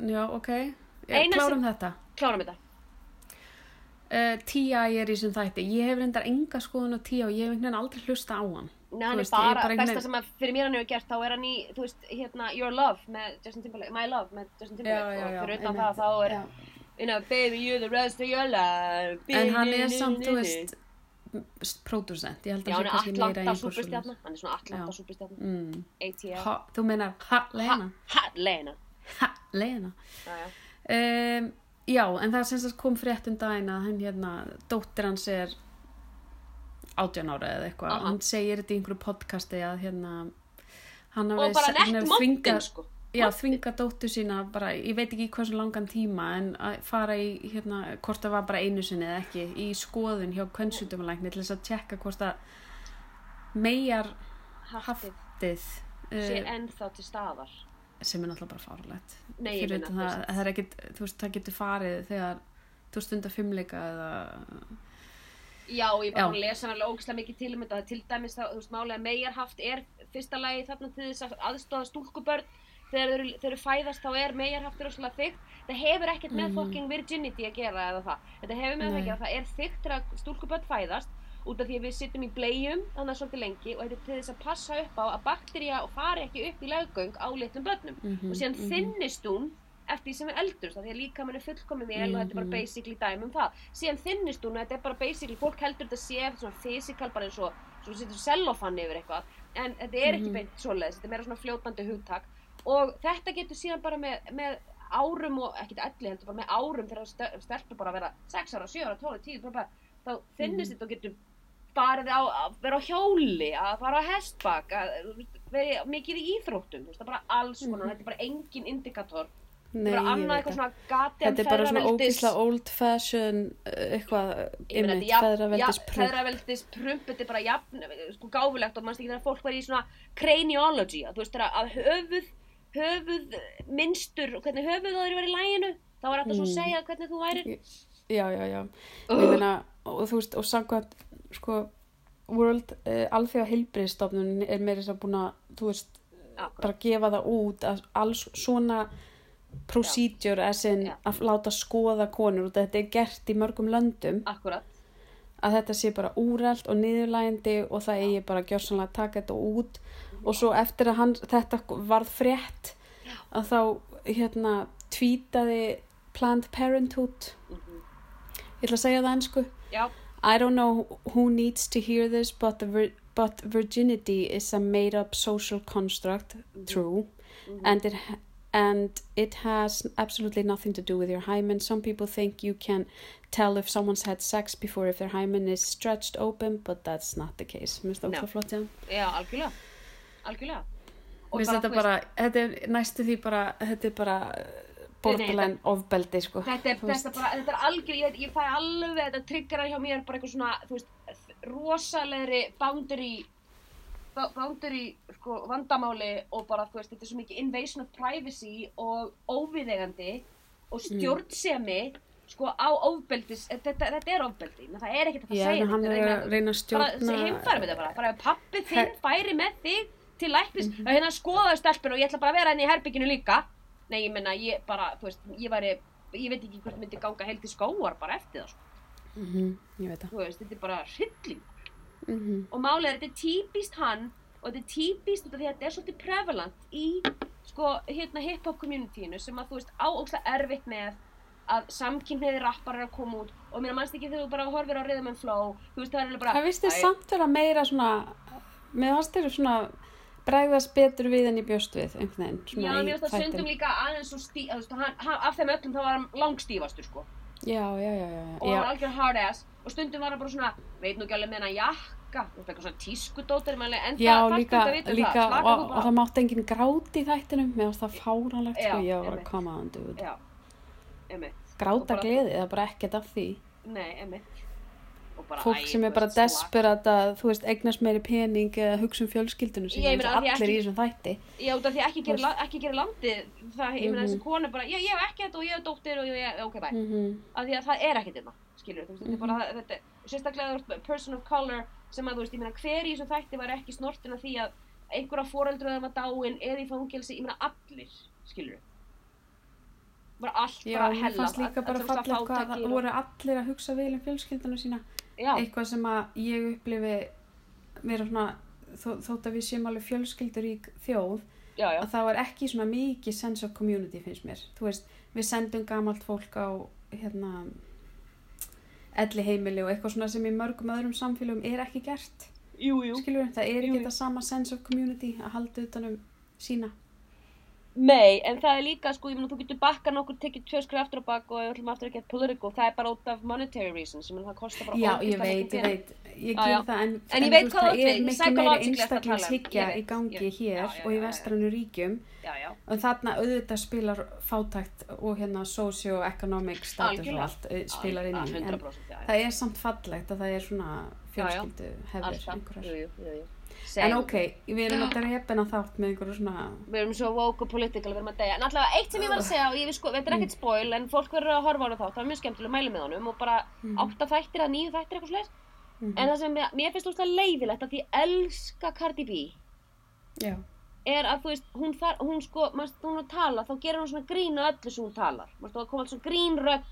Speaker 1: Já, ok. Ég,
Speaker 2: Eina
Speaker 1: klárum þetta.
Speaker 2: Klárum þetta.
Speaker 1: Uh, T.I. er í sem þætti. Ég hef reyndar enga skoðun á T.I. og ég hef einhvern veginn aldrei hlusta á hann.
Speaker 2: Nei,
Speaker 1: Þú
Speaker 2: hann er
Speaker 1: veist, ég
Speaker 2: bara,
Speaker 1: einhvern
Speaker 2: besta
Speaker 1: veginn-
Speaker 2: sem að fyrir mér hann hefur gert, þá er hann í, þú veist, hérna, Your Love með Justin Timberlake, My Love með Justin Timberlake
Speaker 1: já, já,
Speaker 2: og fyrir utan
Speaker 1: einmitt.
Speaker 2: það þá er,
Speaker 1: Já.
Speaker 2: you know, baby, you the rest of your life.
Speaker 1: En hann er samt, þú veist, s- pródúsent. Ég held að
Speaker 2: Já,
Speaker 1: sé
Speaker 2: hann er
Speaker 1: kannski meira
Speaker 2: Atlanta
Speaker 1: í
Speaker 2: superstjarna, hann er svona Atlanta superstjarna,
Speaker 1: Mm.
Speaker 2: ATL,
Speaker 1: Ha, þú meinar, ha, Lena.
Speaker 2: ha, Lena,
Speaker 1: Ha, Lena.
Speaker 2: já, já,
Speaker 1: Um, já, en það sem sagt kom frétt um daginn að hann hérna, dóttir hans er 18 ára eða eitthvað
Speaker 2: Aha.
Speaker 1: og hann segir þetta í einhverju podcasti að hérna hann
Speaker 2: og
Speaker 1: hafi-
Speaker 2: bara
Speaker 1: hann
Speaker 2: nett
Speaker 1: hafi
Speaker 2: montin,
Speaker 1: þvingað-
Speaker 2: sko,
Speaker 1: Já, þvinga dóttur sína bara, ég veit ekki í hversu langan tíma en að fara í, hérna, hvort það var bara einu sinni eða ekki, í skoðun hjá kvensutumalækni til þess að tjekka hvort að megar
Speaker 2: haftið,
Speaker 1: haftið
Speaker 2: sé
Speaker 1: uh,
Speaker 2: ennþá til staðar,
Speaker 1: sem er náttúrulega bara fáralegt.
Speaker 2: Nei, ég
Speaker 1: Fyrir
Speaker 2: meina,
Speaker 1: utan
Speaker 2: þú
Speaker 1: það,
Speaker 2: veist.
Speaker 1: það, er ekkit, þú veist, það getur farið þegar þú stundar fimmleika eða
Speaker 2: Já, ég er bara
Speaker 1: Já.
Speaker 2: búin að lesa hann alveg ógislega mikið til um þetta. Til dæmis þá, þú veist, málega megarhaft er fyrsta lagi þarna til þess að aðstofa stúlkubörn. Þegar þeir, eru- þeir eru fæðast þá er megarhaftur rosalega þykkt. Það hefur ekkert með fucking virginity að gera eða það. Þetta hefur með það
Speaker 1: Mhm. Nei.
Speaker 2: að gera. Það er þykkt þegar stúlkubörn fæðast út af því að við sittum í bleium þannig svolítið lengi og þetta er til þess að passa upp á að baktería fari ekki upp í laggöng á litlum börnum
Speaker 1: Mhm,
Speaker 2: og síðan
Speaker 1: mhm.
Speaker 2: þynnist hún eftir því sem við eldurst af því að líkaminn er fullkomið vel og þetta er bara
Speaker 1: Mhm.
Speaker 2: basically dæmi um það síðan þynnist hún og þetta er bara basically fólk heldur þetta sé eftir svona physical bara eins og svo setur cellofan yfir eitthvað en þetta er ekki
Speaker 1: Mhm.
Speaker 2: beint svoleiðis, þetta er meira svona fljótandi hugtak og þetta getur síðan bara með, með árum og ekkert elli heldur bara með árum þegar stö- stelpur bara að vera 6 ára, 7 ára, 12, 10, bara, bara, þá þynnist
Speaker 1: Mhm.
Speaker 2: þetta og getur farið á að vera á hjóli, að fara á hestbak að þú veist, vera mikið í íþróttum þú veist, það er bara alls konar, þetta er bara engin indikator
Speaker 1: Mhm. Nei,
Speaker 2: Nei, bara
Speaker 1: ég
Speaker 2: annað
Speaker 1: veit það.
Speaker 2: eitthvað svona gati
Speaker 1: Þetta er bara svona ógísla old fashion uh, eitthvað, ymmit, feðraveldis prump.
Speaker 2: feðraveldis prump þetta er bara jafn, sko gáfulegt og mannst ekki þegar fólk var í svona craniology að þú veist þegar að höfuð höfuð minnstur, hvernig höfuð það eru verið í læginu þá var alltaf svo að
Speaker 1: Mm.
Speaker 2: segja hvernig þú værir
Speaker 1: já, já, já ég meina, og þú veist, og samkvæmt sko, World uh, alþjóða heilbriðstofnun er meira þess að búin að, þú veist,
Speaker 2: Akkurat.
Speaker 1: bara gefa það út að alls svona procedure, as in
Speaker 2: Já.
Speaker 1: að láta skoða konur og þetta er gert í mörgum löndum,
Speaker 2: akkurat
Speaker 1: að þetta sé bara úrælt og niðurlægandi og það eigi bara gjörsanlega að taka þetta út og svo eftir að hann, þetta varð frétt að þá hérna tvítaði Planned Parenthood ég ætla að segja það ennsku
Speaker 2: já,
Speaker 1: I don't know who needs to hear this, but the vir but virginity is a made-up social construct, true,
Speaker 2: Mm-hmm.
Speaker 1: and it ha- and it has absolutely nothing to do with your hymen. Some people think you can tell if someone's had sex before if their hymen is stretched open, but that's not the case. Mér finnst það
Speaker 2: No.
Speaker 1: ógeðslega flott, já.
Speaker 2: já, algjörlega algjörlega
Speaker 1: Mér
Speaker 2: Og
Speaker 1: finnst þetta
Speaker 2: þú
Speaker 1: bara, þetta er næstu því bara, þetta er bara uh, borderline ofbeldi, sko.
Speaker 2: Þetta er,
Speaker 1: Þú veist.
Speaker 2: þetta, bara, þetta er algjör, ég, ég fæ alveg þetta triggerar hjá mér bara eitthvað svona, þú veist, rosalegri boundary, ba- boundary sko, vandamáli og bara, þú veist, þetta er svo mikið invasion of privacy og óviðegandi og
Speaker 1: Mm.
Speaker 2: stjórnsemi, sko, á ofbeldis, þetta, þetta er ofbeldi, menn það er ekkert að
Speaker 1: Já,
Speaker 2: það segja
Speaker 1: en
Speaker 2: um
Speaker 1: hann er að reyna að
Speaker 2: bara
Speaker 1: stjórna...
Speaker 2: heimfærum þetta bara, bara ef
Speaker 1: Her-
Speaker 2: pappi
Speaker 1: Mhm.
Speaker 2: þinn færi með þig til læknis, mm hérna skoðaðu stelpun og ég ætla bara að vera henni í herbygginu líka nei, ég menna, ég bara, þú veist, ég væri ég veit ekki hvort myndi ganga heil til skóar bara eftir það, sko.
Speaker 1: Mhm, Ég veit það.
Speaker 2: þú veist, þetta er bara hrylling
Speaker 1: Mhm,
Speaker 2: og málið er að þetta er típist hann og þetta er típist út af því að þetta er svolítið prevalent í sko, hérna hip-hop communityinu sem að þú veist áókslega erfitt með að samkynniði rappar er að koma út og mér mannst ekki þegar þú bara horfir á Rhythm and Flow þú veist það er alveg bara
Speaker 1: Það vist þið
Speaker 2: Æ,
Speaker 1: samt vera meira svona, með hans þeirra svona bregðast betur við en ég bjóst við, einhvern veginn,
Speaker 2: Já,
Speaker 1: svona
Speaker 2: mér finnst það sundum líka aðeins svo stíf, þú veist, hann, hann, af þeim öllum þá var hann langstífastur, sko.
Speaker 1: Já, já, já, já,
Speaker 2: Og hann var
Speaker 1: já,
Speaker 2: algjör hard ass, og stundum var hann bara svona, veit nú ekki alveg með hennar jakka, þú veist, eitthvað svona tískudóttir, en það
Speaker 1: já,
Speaker 2: fannst
Speaker 1: líka,
Speaker 2: þetta að vita um
Speaker 1: líka,
Speaker 2: það,
Speaker 1: og,
Speaker 2: slaka þú
Speaker 1: og
Speaker 2: bara.
Speaker 1: það mátti enginn gráti í þættinum, mér finnst það fáránlegt,
Speaker 2: Já,
Speaker 1: sko, ég var að
Speaker 2: einmitt.
Speaker 1: koma að andu út.
Speaker 2: Já, emitt.
Speaker 1: Gráta gleði, það er bara ekkert af því.
Speaker 2: Nei, emitt. Og bara,
Speaker 1: Fólk
Speaker 2: æ,
Speaker 1: sem er
Speaker 2: þú
Speaker 1: bara
Speaker 2: veist, slaka-
Speaker 1: desperat að, þú veist, eignast meiri pening eða hugsa um fjölskyldunum sín,
Speaker 2: Ég meina, af því
Speaker 1: allir
Speaker 2: ekki-
Speaker 1: í þessum þætti.
Speaker 2: Já, út af því að ekki
Speaker 1: Þú veist.
Speaker 2: gera, ekki gera landið, það, ég meina
Speaker 1: Mhm.
Speaker 2: þessi konu bara, já, ég hef ekki þetta og ég hef dóttir og ég, ok, bye.
Speaker 1: Mm
Speaker 2: af því að það er ekkert hérna, skilur þú veist, þetta er bara,
Speaker 1: Mhm.
Speaker 2: þetta, er- sérstaklega þú ert person of color sem að þú veist, ég meina hver í þessum þætti var ekki snortin af því að einhverja foreldra þeirra var dáin eða í fangelsi, ég meina allir, skilur þú bara allt,
Speaker 1: Já,
Speaker 2: bara
Speaker 1: mér
Speaker 2: hella
Speaker 1: fannst líka bara falla hvað það voru allir að hugsa vel um fjölskyldunum sína.
Speaker 2: já,
Speaker 1: Eitthvað sem að ég upplifi vera svona, þó, þótt að við séum alveg fjölskyldurík þjóð,
Speaker 2: já, já,
Speaker 1: að það var ekki svona mikið sense of community finnst mér. Þú veist, við sendum gamalt fólk á, hérna, elli heimili og eitthvað svona sem í mörgum öðrum samfélagum er ekki gert.
Speaker 2: jú, jú
Speaker 1: Skilur, það er
Speaker 2: Jú,
Speaker 1: ekki
Speaker 2: jú.
Speaker 1: þetta sama sense of community að halda utanum sína.
Speaker 2: Nei, en það er líka, sko, ég meina, þú getur bakkað nokkur, tekið tvö skrif aftur á bakk og öllum aftur að geta political, það er bara út af monetary reasons, ég meina, það kostar bara
Speaker 1: Já, ég
Speaker 2: ógeðslega mikið
Speaker 1: veit, ég
Speaker 2: pening.
Speaker 1: veit, ég
Speaker 2: Já, já.
Speaker 1: ger það en,
Speaker 2: En ég
Speaker 1: þú
Speaker 2: veit
Speaker 1: veist,
Speaker 2: hvað þú
Speaker 1: það
Speaker 2: átt við,
Speaker 1: er
Speaker 2: ég
Speaker 1: miklu meiri
Speaker 2: psychologically ertu að tala um,
Speaker 1: einstaklingshyggja
Speaker 2: ég
Speaker 1: í
Speaker 2: veit,
Speaker 1: gangi
Speaker 2: ég- já,
Speaker 1: hér
Speaker 2: já,
Speaker 1: og
Speaker 2: já,
Speaker 1: í
Speaker 2: já, já.
Speaker 1: vestranu ríkjum
Speaker 2: Já, já,
Speaker 1: og þarna auðvitað spilar fátækt og hérna socio-economic status og
Speaker 2: Algjörlega.
Speaker 1: allt eh, spilar inn í en
Speaker 2: 100% já, já.
Speaker 1: það er samt fallegt að það er svona
Speaker 2: Já, já.
Speaker 1: fjölskyldu hefur einhverjar
Speaker 2: einhverjar
Speaker 1: en ok, við erum að drepa hérna þátt með einhverju svona
Speaker 2: Við erum svo woke og political, við erum að deyja En allavega eitt sem ég var að segja, og ég við sko, þetta er
Speaker 1: Mm.
Speaker 2: ekkert spoil En fólk verður að horfa á hana þátt, það var mjög skemmtileg mæli með honum Og bara átta þættir að nýju þættir eitthvað slags
Speaker 1: Mhm.
Speaker 2: En það sem mér, mér finnst úrslega leiðilegt Að því ég elska Cardi B
Speaker 1: já,
Speaker 2: Er að þú veist, hún þar, hún sko, mannst hún er að tala Þá gerir hún svona grín að öllu sem hún talar Mannst þú að koma alls svona grín rödd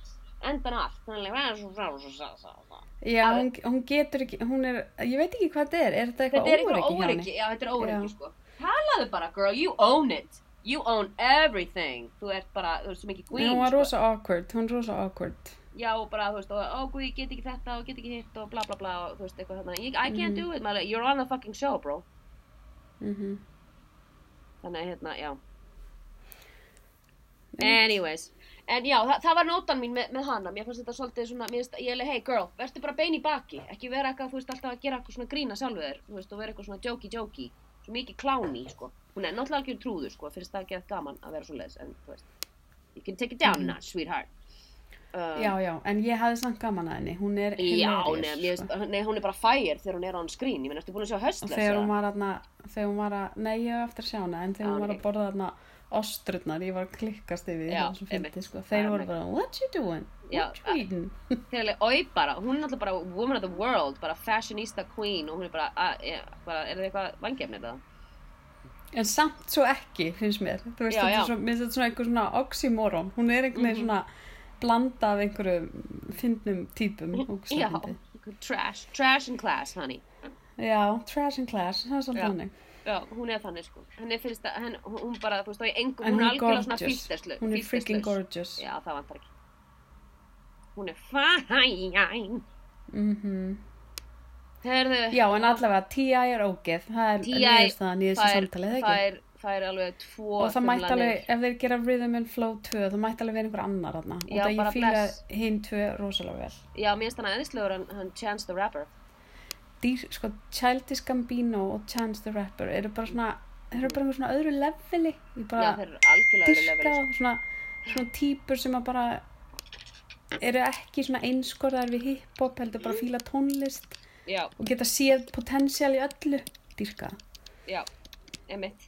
Speaker 2: endan allt Þannig að
Speaker 1: já hún, hún getur ekki hún er, ég veit ekki hvað þetta er er þetta
Speaker 2: Þetta er
Speaker 1: eitthvað óreiki hjá henni?
Speaker 2: eitthvað óöryggi, já þetta er óöryggi
Speaker 1: Já.
Speaker 2: sko. Talaðu bara girl, you own it. You own everything. Þú ert bara, þú ert svo mikið
Speaker 1: En
Speaker 2: queen sko.
Speaker 1: hún var rosa awkward, hún er rosa awkward
Speaker 2: Já og bara, þú veist, og ó guð, ég get ekki þetta og get ekki hitt og bla bla bla og þú veist eitthvað þarna. Ég- I can't do it, maður, you're on the fucking show bro.
Speaker 1: mhm
Speaker 2: Þannig að hérna, já. Anyways. En já, það, það var nótan mín með, með hana, mér fannst þetta svolítið svona, mér finnst, ég hei hey girl, verður bara bein í baki, ekki vera eitthvað, þú veist, alltaf að gera eitthvað svona grína sjálfu þér, þú veist, og vera eitthvað svona jokey-jokey, svo mikið kláni, sko. Hún er náttúrulega ekki trúður, sko, finnst það ekki að gaman að vera svoleiðis, en þú veist, you can take it down now, sweetheart. Um,
Speaker 1: Mhm. Já, já, en ég hafði samt gaman að henni, hún er
Speaker 2: já,
Speaker 1: hilarious,
Speaker 2: nei, mér,
Speaker 1: sko.
Speaker 2: finnst- nei, hún er bara fire þegar hún er on screen, ég menn, ertu búin að sjá
Speaker 1: Og
Speaker 2: höstless?
Speaker 1: þegar hún
Speaker 2: eða?
Speaker 1: var aðna, þegar hún var að, nei, ég hef eftir að sjá hana, en þegar
Speaker 2: Já,
Speaker 1: hún var
Speaker 2: ok.
Speaker 1: að borða aðna ostrurnar, ég var að klikkast yfir því,
Speaker 2: Já,
Speaker 1: það var svo
Speaker 2: einmitt.
Speaker 1: fyndið, sko.
Speaker 2: Já,
Speaker 1: Þeir voru
Speaker 2: einmitt.
Speaker 1: bara, what you doing?
Speaker 2: Já,
Speaker 1: What you eating?
Speaker 2: Þegar oi bara, hún er náttúrulega bara woman of the world, bara fashionista queen og hún er bara, að, ja, bara er það eitthvað vangefnir eða?
Speaker 1: En samt svo ekki, finnst mér. Þú veist,
Speaker 2: Já,
Speaker 1: þetta
Speaker 2: já. Mhm.
Speaker 1: er svo, mér finnst þetta svona einhver svona oxymoron. Hún er einhvern veginn svona blanda af einhverju fyndnum típum.
Speaker 2: Mhm. Já,
Speaker 1: ógeðslega fyndið.
Speaker 2: trash, trash and class, honey.
Speaker 1: Já, trash and class, það er svolítið
Speaker 2: Já.
Speaker 1: hannig.
Speaker 2: Já, hún er þannig sko. Henni finnst að, henn, hún bara, þú veist, þá ég engum,
Speaker 1: En
Speaker 2: hún
Speaker 1: hún
Speaker 2: er
Speaker 1: er
Speaker 2: algjörlega svona
Speaker 1: gorgeous.
Speaker 2: fýlterslu.
Speaker 1: Hún er freaking gorgeous.
Speaker 2: Já, það vantar ekki. Hún er fæn.
Speaker 1: Mhm.
Speaker 2: Herðu,
Speaker 1: Já, en allavega, T.I. er ógeð, það er
Speaker 2: TI
Speaker 1: niðurstaðan í þessu
Speaker 2: það er-
Speaker 1: samtalið, eða
Speaker 2: það
Speaker 1: ekki?
Speaker 2: er, það er alveg tvo
Speaker 1: Og það mætti
Speaker 2: þumlanir.
Speaker 1: alveg, ef þeir gera Rhythm and Flow 2, það mætti alveg vera einhver annar þarna. Og
Speaker 2: Já,
Speaker 1: það
Speaker 2: bara
Speaker 1: ég fýla
Speaker 2: bless.
Speaker 1: hinn 2 rosalega vel.
Speaker 2: Já, mér finnst hann aðeinslegur en hann Chance the Rapper.
Speaker 1: Dýr, sko, Childish Gambino og Chance the Rapper eru bara svona, þeir eru bara einhver svona öðru leveli. Ég
Speaker 2: Já, þeir
Speaker 1: bara
Speaker 2: eru algjörlega öðru leveli, sko.
Speaker 1: dyrka og svona, svona típur sem að bara eru ekki svona einskorðar við hiphop, heldur
Speaker 2: Mhm.
Speaker 1: bara fýla tónlist
Speaker 2: sko. Já,
Speaker 1: og geta séð potensial í öllu. Dýrka.
Speaker 2: Já, einmitt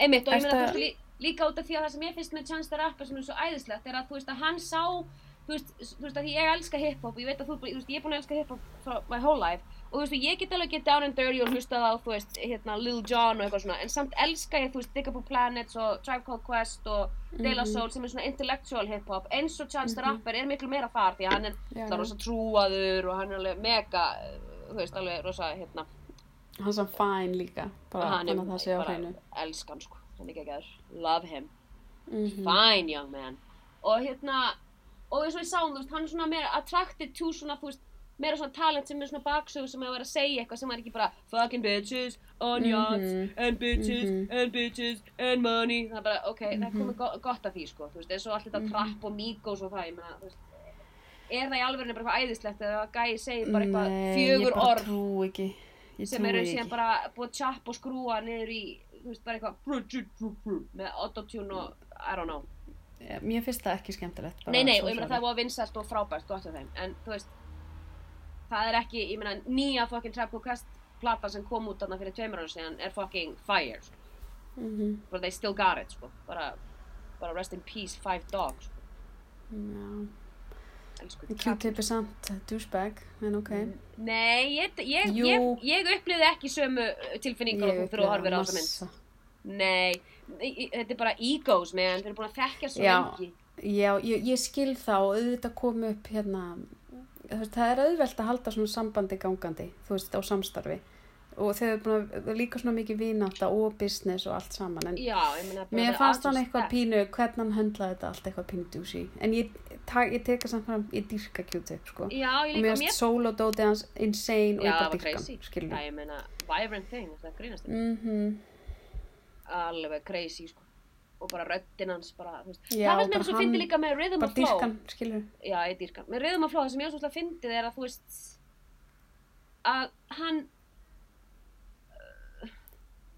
Speaker 2: Einmitt og ég meina
Speaker 1: Ertu-
Speaker 2: þú veist lí, líka út af því að það sem ég finnst með Chance the Rapper sem er svo æðislegt er að þú veist að hann sá þú veist, s- þú veist að því ég elska hiphop og ég veit að þú, þú veist, ég er búin að elska hiphop frá my whole life og þú veist, og ég get alveg get down and dirty og hlustað á, þú veist, hérna, Lil Jon og eitthvað svona en samt elska ég, þú veist, Dig Up a Planet og Tribe Called Quest og De
Speaker 1: Mhm.
Speaker 2: La Soul sem er svona intellectual hiphop eins og Chance the Rapper er miklu meira far því að hann er
Speaker 1: Já.
Speaker 2: það er rosa trúaður og hann er alveg mega, þú veist, alveg rosa, hérna
Speaker 1: Hann sem fæn líka, bara
Speaker 2: hann
Speaker 1: þannig að það sé á hreinu.
Speaker 2: elskan, sko, hann er geggjaður, love him
Speaker 1: Mhm.
Speaker 2: fine young man og hérna og eins og við sáum, þú veist, hann er svona meira attracted to svona, þú veist, meira svona talent sem er svona baksögu sem er að vera að segja eitthvað sem er ekki bara fucking bitches on yachts
Speaker 1: Mhm.
Speaker 2: and bitches and bitches and money það er bara, ok, það er komið
Speaker 1: Mhm.
Speaker 2: go gott af því, sko þú veist, eins og allt þetta trap og migos og það, ég meina, þú veist er það í alvörinu bara eitthvað æðislegt eða að gæi segir bara eitthvað fjögur
Speaker 1: Nei, ég bara
Speaker 2: orð
Speaker 1: trú ekki. Ég
Speaker 2: sem
Speaker 1: trúi
Speaker 2: eru
Speaker 1: ekki.
Speaker 2: síðan bara búið að tjapp og skrúa niður í, þú veist, bara eitthvað með autotune og, I don't know
Speaker 1: Ég- Mér finnst það ekki skemmtilegt. bara
Speaker 2: Nei, nei,
Speaker 1: so
Speaker 2: og ég meina
Speaker 1: sorry.
Speaker 2: það var vinsælt og frábært gott af þeim, en þú veist það er ekki, ég meina nýja fucking Trap Cool Quest plata sem kom út þarna fyrir tveimur ára síðan er fucking fire sko.
Speaker 1: Mhm.
Speaker 2: bara they still got it, sko bara, bara rest in peace, five dogs sko. Elsku Trap-
Speaker 1: Q-tip er samt douchebag, en ok.
Speaker 2: Mm, Nei, ég, ég,
Speaker 1: Jú.
Speaker 2: ég, ég upplifði ekki sömu uh, tilfinningar og þú þegar þú horfir á þessa mynd Nei, í- í- þetta er bara egos, man, þeir eru búin að þekkja svo
Speaker 1: Já.
Speaker 2: lengi
Speaker 1: Já, ég, ég skil þá og auðvitað kom upp hérna, þú veist, það er auðvelt að halda svona sambandi gangandi, þú veist, á samstarfi og þau eru búin að líka svona mikið vináta og business og allt saman en
Speaker 2: Já, ég meina bara
Speaker 1: mér
Speaker 2: vera
Speaker 1: fannst
Speaker 2: artist
Speaker 1: hann eitthvað
Speaker 2: step.
Speaker 1: pínu, hvernig hann höndlaði þetta allt eitthvað pínu djúsi en ég, ta, ég teka samt fram, ég dýrka Q-tip sko
Speaker 2: Já,
Speaker 1: og
Speaker 2: ég líka,
Speaker 1: mér finnst sólodótið hans insane og
Speaker 2: Já,
Speaker 1: ég
Speaker 2: það
Speaker 1: bara
Speaker 2: var
Speaker 1: dýrka hann,
Speaker 2: crazy.
Speaker 1: skilur
Speaker 2: Já, ég meina, vibrant thing, það grínast þetta.
Speaker 1: mhm,
Speaker 2: Alveg crazy, sko. Og bara röddinn hans, bara, þú veist.
Speaker 1: Já,
Speaker 2: það finnst mér
Speaker 1: bara
Speaker 2: svo fyndið
Speaker 1: hann-
Speaker 2: líka með Rhythm
Speaker 1: bara
Speaker 2: of Flow.
Speaker 1: dýrka hann, skilur
Speaker 2: Já, ég dýrkan. Með Rhythm of Flow, það sem ég er svolítið að fyndið er að, þú veist, að hann,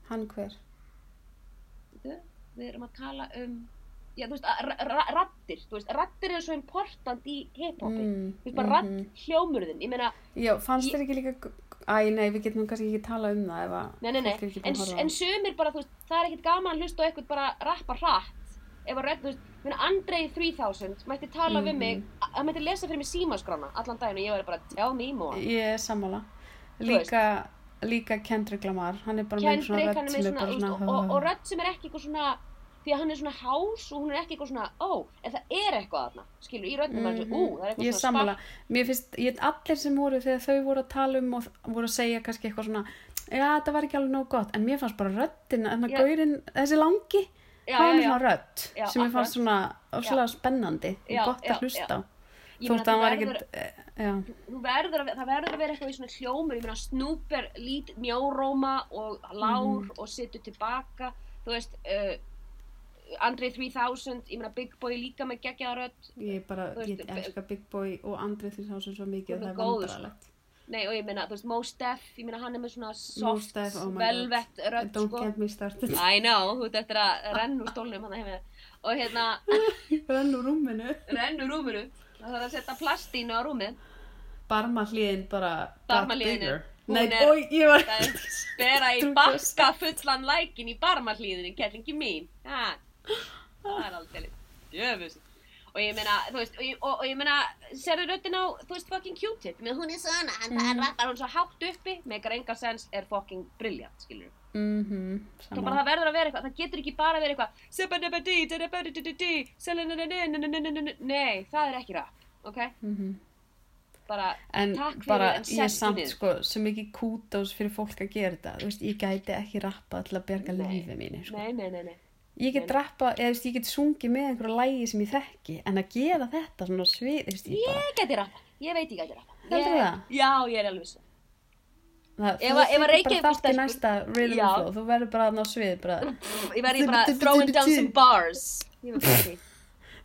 Speaker 1: hann hver
Speaker 2: Bíddu, við erum að tala um, já, þú veist, að ra- ra- raddir, þú veist, raddir er svo important í hiphopi.
Speaker 1: Mm,
Speaker 2: Þú veist, bara radd
Speaker 1: mhm.
Speaker 2: hljómurðin, ég meina,
Speaker 1: Já, fannst
Speaker 2: Ég-
Speaker 1: þér ekki líka... Æ, nei, við getum kannski ekki tala um það ef að
Speaker 2: Nei, nei, nei,
Speaker 1: fólk er ekki
Speaker 2: en,
Speaker 1: búin að horfa á
Speaker 2: en
Speaker 1: það.
Speaker 2: sumir bara, þú veist, það er ekkert gaman að hlusta á eitthvað bara rappa hratt ef að rödd, þú veist, minna Andrei 3000 mætti tala við
Speaker 1: Mhm.
Speaker 2: mig, a- hann mætti lesa fyrir mig símaskrána allan daginn og ég væri bara, tell me more
Speaker 1: Ég er sammála.
Speaker 2: Þú veist.
Speaker 1: Líka, líka Kendrick Lamar, hann er bara
Speaker 2: Kendrick,
Speaker 1: með svona
Speaker 2: hann er
Speaker 1: rödd
Speaker 2: með
Speaker 1: sem er
Speaker 2: svona,
Speaker 1: bara
Speaker 2: svona
Speaker 1: svona...
Speaker 2: og, og, og rödd sem er ekki eitthvað svona því að hann er svona hás og hún er ekki eitthvað svona, ó, en það er eitthvað þarna skilur, í röddum mm -hmm. ú, það er eitthvað
Speaker 1: Mhm. Ég er
Speaker 2: svona
Speaker 1: sammála.
Speaker 2: spark-
Speaker 1: Mér finnst, ég, allir sem voru þegar þau voru að tala um og voru að segja kannski eitthvað svona Já, þetta var ekki alveg nóg gott, en mér fannst bara röddin, en
Speaker 2: Já.
Speaker 1: að gaurinn, þessi langi,
Speaker 2: Já,
Speaker 1: hann
Speaker 2: já,
Speaker 1: er
Speaker 2: já.
Speaker 1: svona rödd
Speaker 2: Já,
Speaker 1: sem mér fannst svona ofslega spennandi
Speaker 2: Já,
Speaker 1: og gott
Speaker 2: já,
Speaker 1: að hlusta á.
Speaker 2: Ég
Speaker 1: Þótt
Speaker 2: meina,
Speaker 1: að hann var
Speaker 2: þú verður-
Speaker 1: ekkert, eh, já.
Speaker 2: þú verður að, það verður að vera eitthvað í svona hljómur ég meina Snoop er lít mjóróma og lár
Speaker 1: Mhm.
Speaker 2: og situr tilbaka þú veist uh, Andrei 3000, ég meina Big Boy líka með geggjaðarödd,
Speaker 1: Ég bara,
Speaker 2: Þú
Speaker 1: ég
Speaker 2: veist,
Speaker 1: elska Big Boy og Andri því sá sem svo mikið
Speaker 2: Hún
Speaker 1: að
Speaker 2: er
Speaker 1: það er
Speaker 2: góð,
Speaker 1: vandrarlegt.
Speaker 2: nei og ég meina þú veist Mos Def, ég meina hann er með svona sko. soft,
Speaker 1: Móstef, oh my
Speaker 2: velvett
Speaker 1: god,
Speaker 2: rödd
Speaker 1: don't
Speaker 2: sko.
Speaker 1: get me started.
Speaker 2: I know, þú ert eftir að renna úr stólnum hann hefði og hérna
Speaker 1: Brenn úr rúminu.
Speaker 2: renna úr rúminu það þarf að setja plastínu á rúmið
Speaker 1: Barma hliðin bara, got
Speaker 2: Barma hliðin er-
Speaker 1: bigger.
Speaker 2: hún
Speaker 1: Nei,
Speaker 2: er-
Speaker 1: oi, ég var,
Speaker 2: það er bera í
Speaker 1: Þú veist.
Speaker 2: bakka fullan lækin í barmahlíðinni, kellingi mín. Ha, það er aldrei djöfus. Og ég meina, þú veist, og ég, og, og ég meina, serðu röddin á, þú veist, fucking Q-tip, með hún er svona, en það er rættar hún svo hátt uppi, með engar sens er fucking brilljant, skilur við.
Speaker 1: mhm,
Speaker 2: Það
Speaker 1: sama.
Speaker 2: bara það verður að vera eitthvað, það getur ekki bara að vera eitthvað, sebadabadi, dadabadidididi, selenadadadadadadadadadadadadadadadadadadadadadadadadadadadadadadadadadadadadadadadadadadadadadadadadadadadadadadadadadadadadad Það er ekki rap, ok?
Speaker 1: Mhm.
Speaker 2: Bara,
Speaker 1: En
Speaker 2: Takk fyrir,
Speaker 1: bara,
Speaker 2: en
Speaker 1: ég er
Speaker 2: sestu
Speaker 1: samt
Speaker 2: niður.
Speaker 1: sko, svo mikið kútós fyrir fólk að gera þetta. Þú veist, ég gæti ekki rappa til að berga
Speaker 2: Nei.
Speaker 1: lífi mínu, sko.
Speaker 2: nei, nei, nei, nei.
Speaker 1: Ég get rappa, eða þú veist, ég get sungið með einhverju lægi sem ég þekki, en að gera þetta svona á svið, þú veist, ég bara,
Speaker 2: Ég gæti rappa, ég veit ég gæti rappa.
Speaker 1: Heldurðu
Speaker 2: Ég-
Speaker 1: það?
Speaker 2: Já, ég er alveg viss.
Speaker 1: Það,
Speaker 2: Ef
Speaker 1: ef,
Speaker 2: að-
Speaker 1: þú
Speaker 2: ef að
Speaker 1: tekur bara
Speaker 2: Reykjavík
Speaker 1: þátt í
Speaker 2: stelpur-
Speaker 1: næsta Rhythm
Speaker 2: Já.
Speaker 1: and Flow, þú verður bara að á svið bara,
Speaker 2: Pff, Ég verði bara throwing down some bars. Ég verði bara því.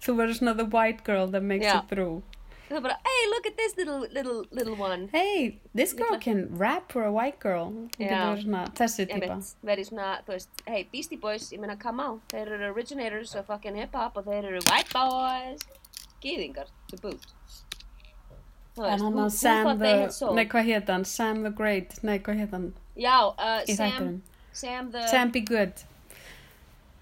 Speaker 1: þú verður svona the white girl that makes
Speaker 2: Já.
Speaker 1: it through
Speaker 2: Það er bara, hey, look at this little, little, little one.
Speaker 1: hey, this girl can rap for a white girl hún getur
Speaker 2: Já.
Speaker 1: verið svona þessi
Speaker 2: Ég
Speaker 1: típa
Speaker 2: veit, verði svona, þú veist, hey, Beastie Boys, ég meina, come on. Þeir eru originators of fucking hip-hop og þeir eru white boys. Gýðingar, to boot. Þú
Speaker 1: en
Speaker 2: veist,
Speaker 1: hann
Speaker 2: who-
Speaker 1: að
Speaker 2: who
Speaker 1: Sam
Speaker 2: thought they had
Speaker 1: the
Speaker 2: soul?
Speaker 1: nei, hvað hétt hann, Sam the Great nei, hvað hétt hann
Speaker 2: Já, uh,
Speaker 1: í
Speaker 2: Sam,
Speaker 1: þættinum
Speaker 2: Sam the,
Speaker 1: Sam be good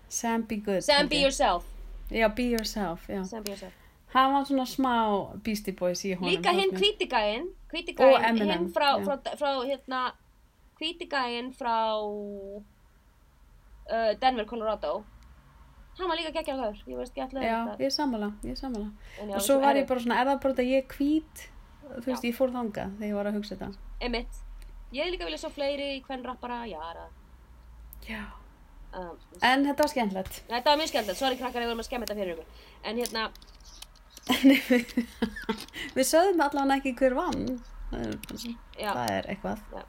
Speaker 1: Sam be good
Speaker 2: Sam
Speaker 1: held
Speaker 2: be
Speaker 1: ég.
Speaker 2: yourself.
Speaker 1: já, be yourself já.
Speaker 2: Sam be yourself.
Speaker 1: hann var svona smá Beastie Boys í honum
Speaker 2: Líka hinn
Speaker 1: fannst mér.
Speaker 2: kvítigæinn,
Speaker 1: Og
Speaker 2: kvítigæinn,
Speaker 1: Eminem,
Speaker 2: hinn frá,
Speaker 1: já.
Speaker 2: frá, frá, hérna, kvítigæinn frá uh, Denver, Colorado. Hann var líka geggjaður gaur, ég veist ekki allir
Speaker 1: Já, ég er sammála, ég er sammála
Speaker 2: En já,
Speaker 1: Og svo var
Speaker 2: er-
Speaker 1: ég bara svona, er það bara þetta ég er hvít Þú veist, ég fór þangað þegar ég var að hugsa þetta
Speaker 2: Einmitt. Ég hefði líka vilja sjá fleiri hvern rappara, jara.
Speaker 1: Já
Speaker 2: Um,
Speaker 1: En þetta var skemmtilegt
Speaker 2: þetta var mjög skemmtilegt, sorry krakkar, ég vorum að skemmi þetta fyrir ykkur. En hérna,
Speaker 1: Við sögðum allavega ekki hver vann Það er,
Speaker 2: já,
Speaker 1: það er eitthvað
Speaker 2: Já.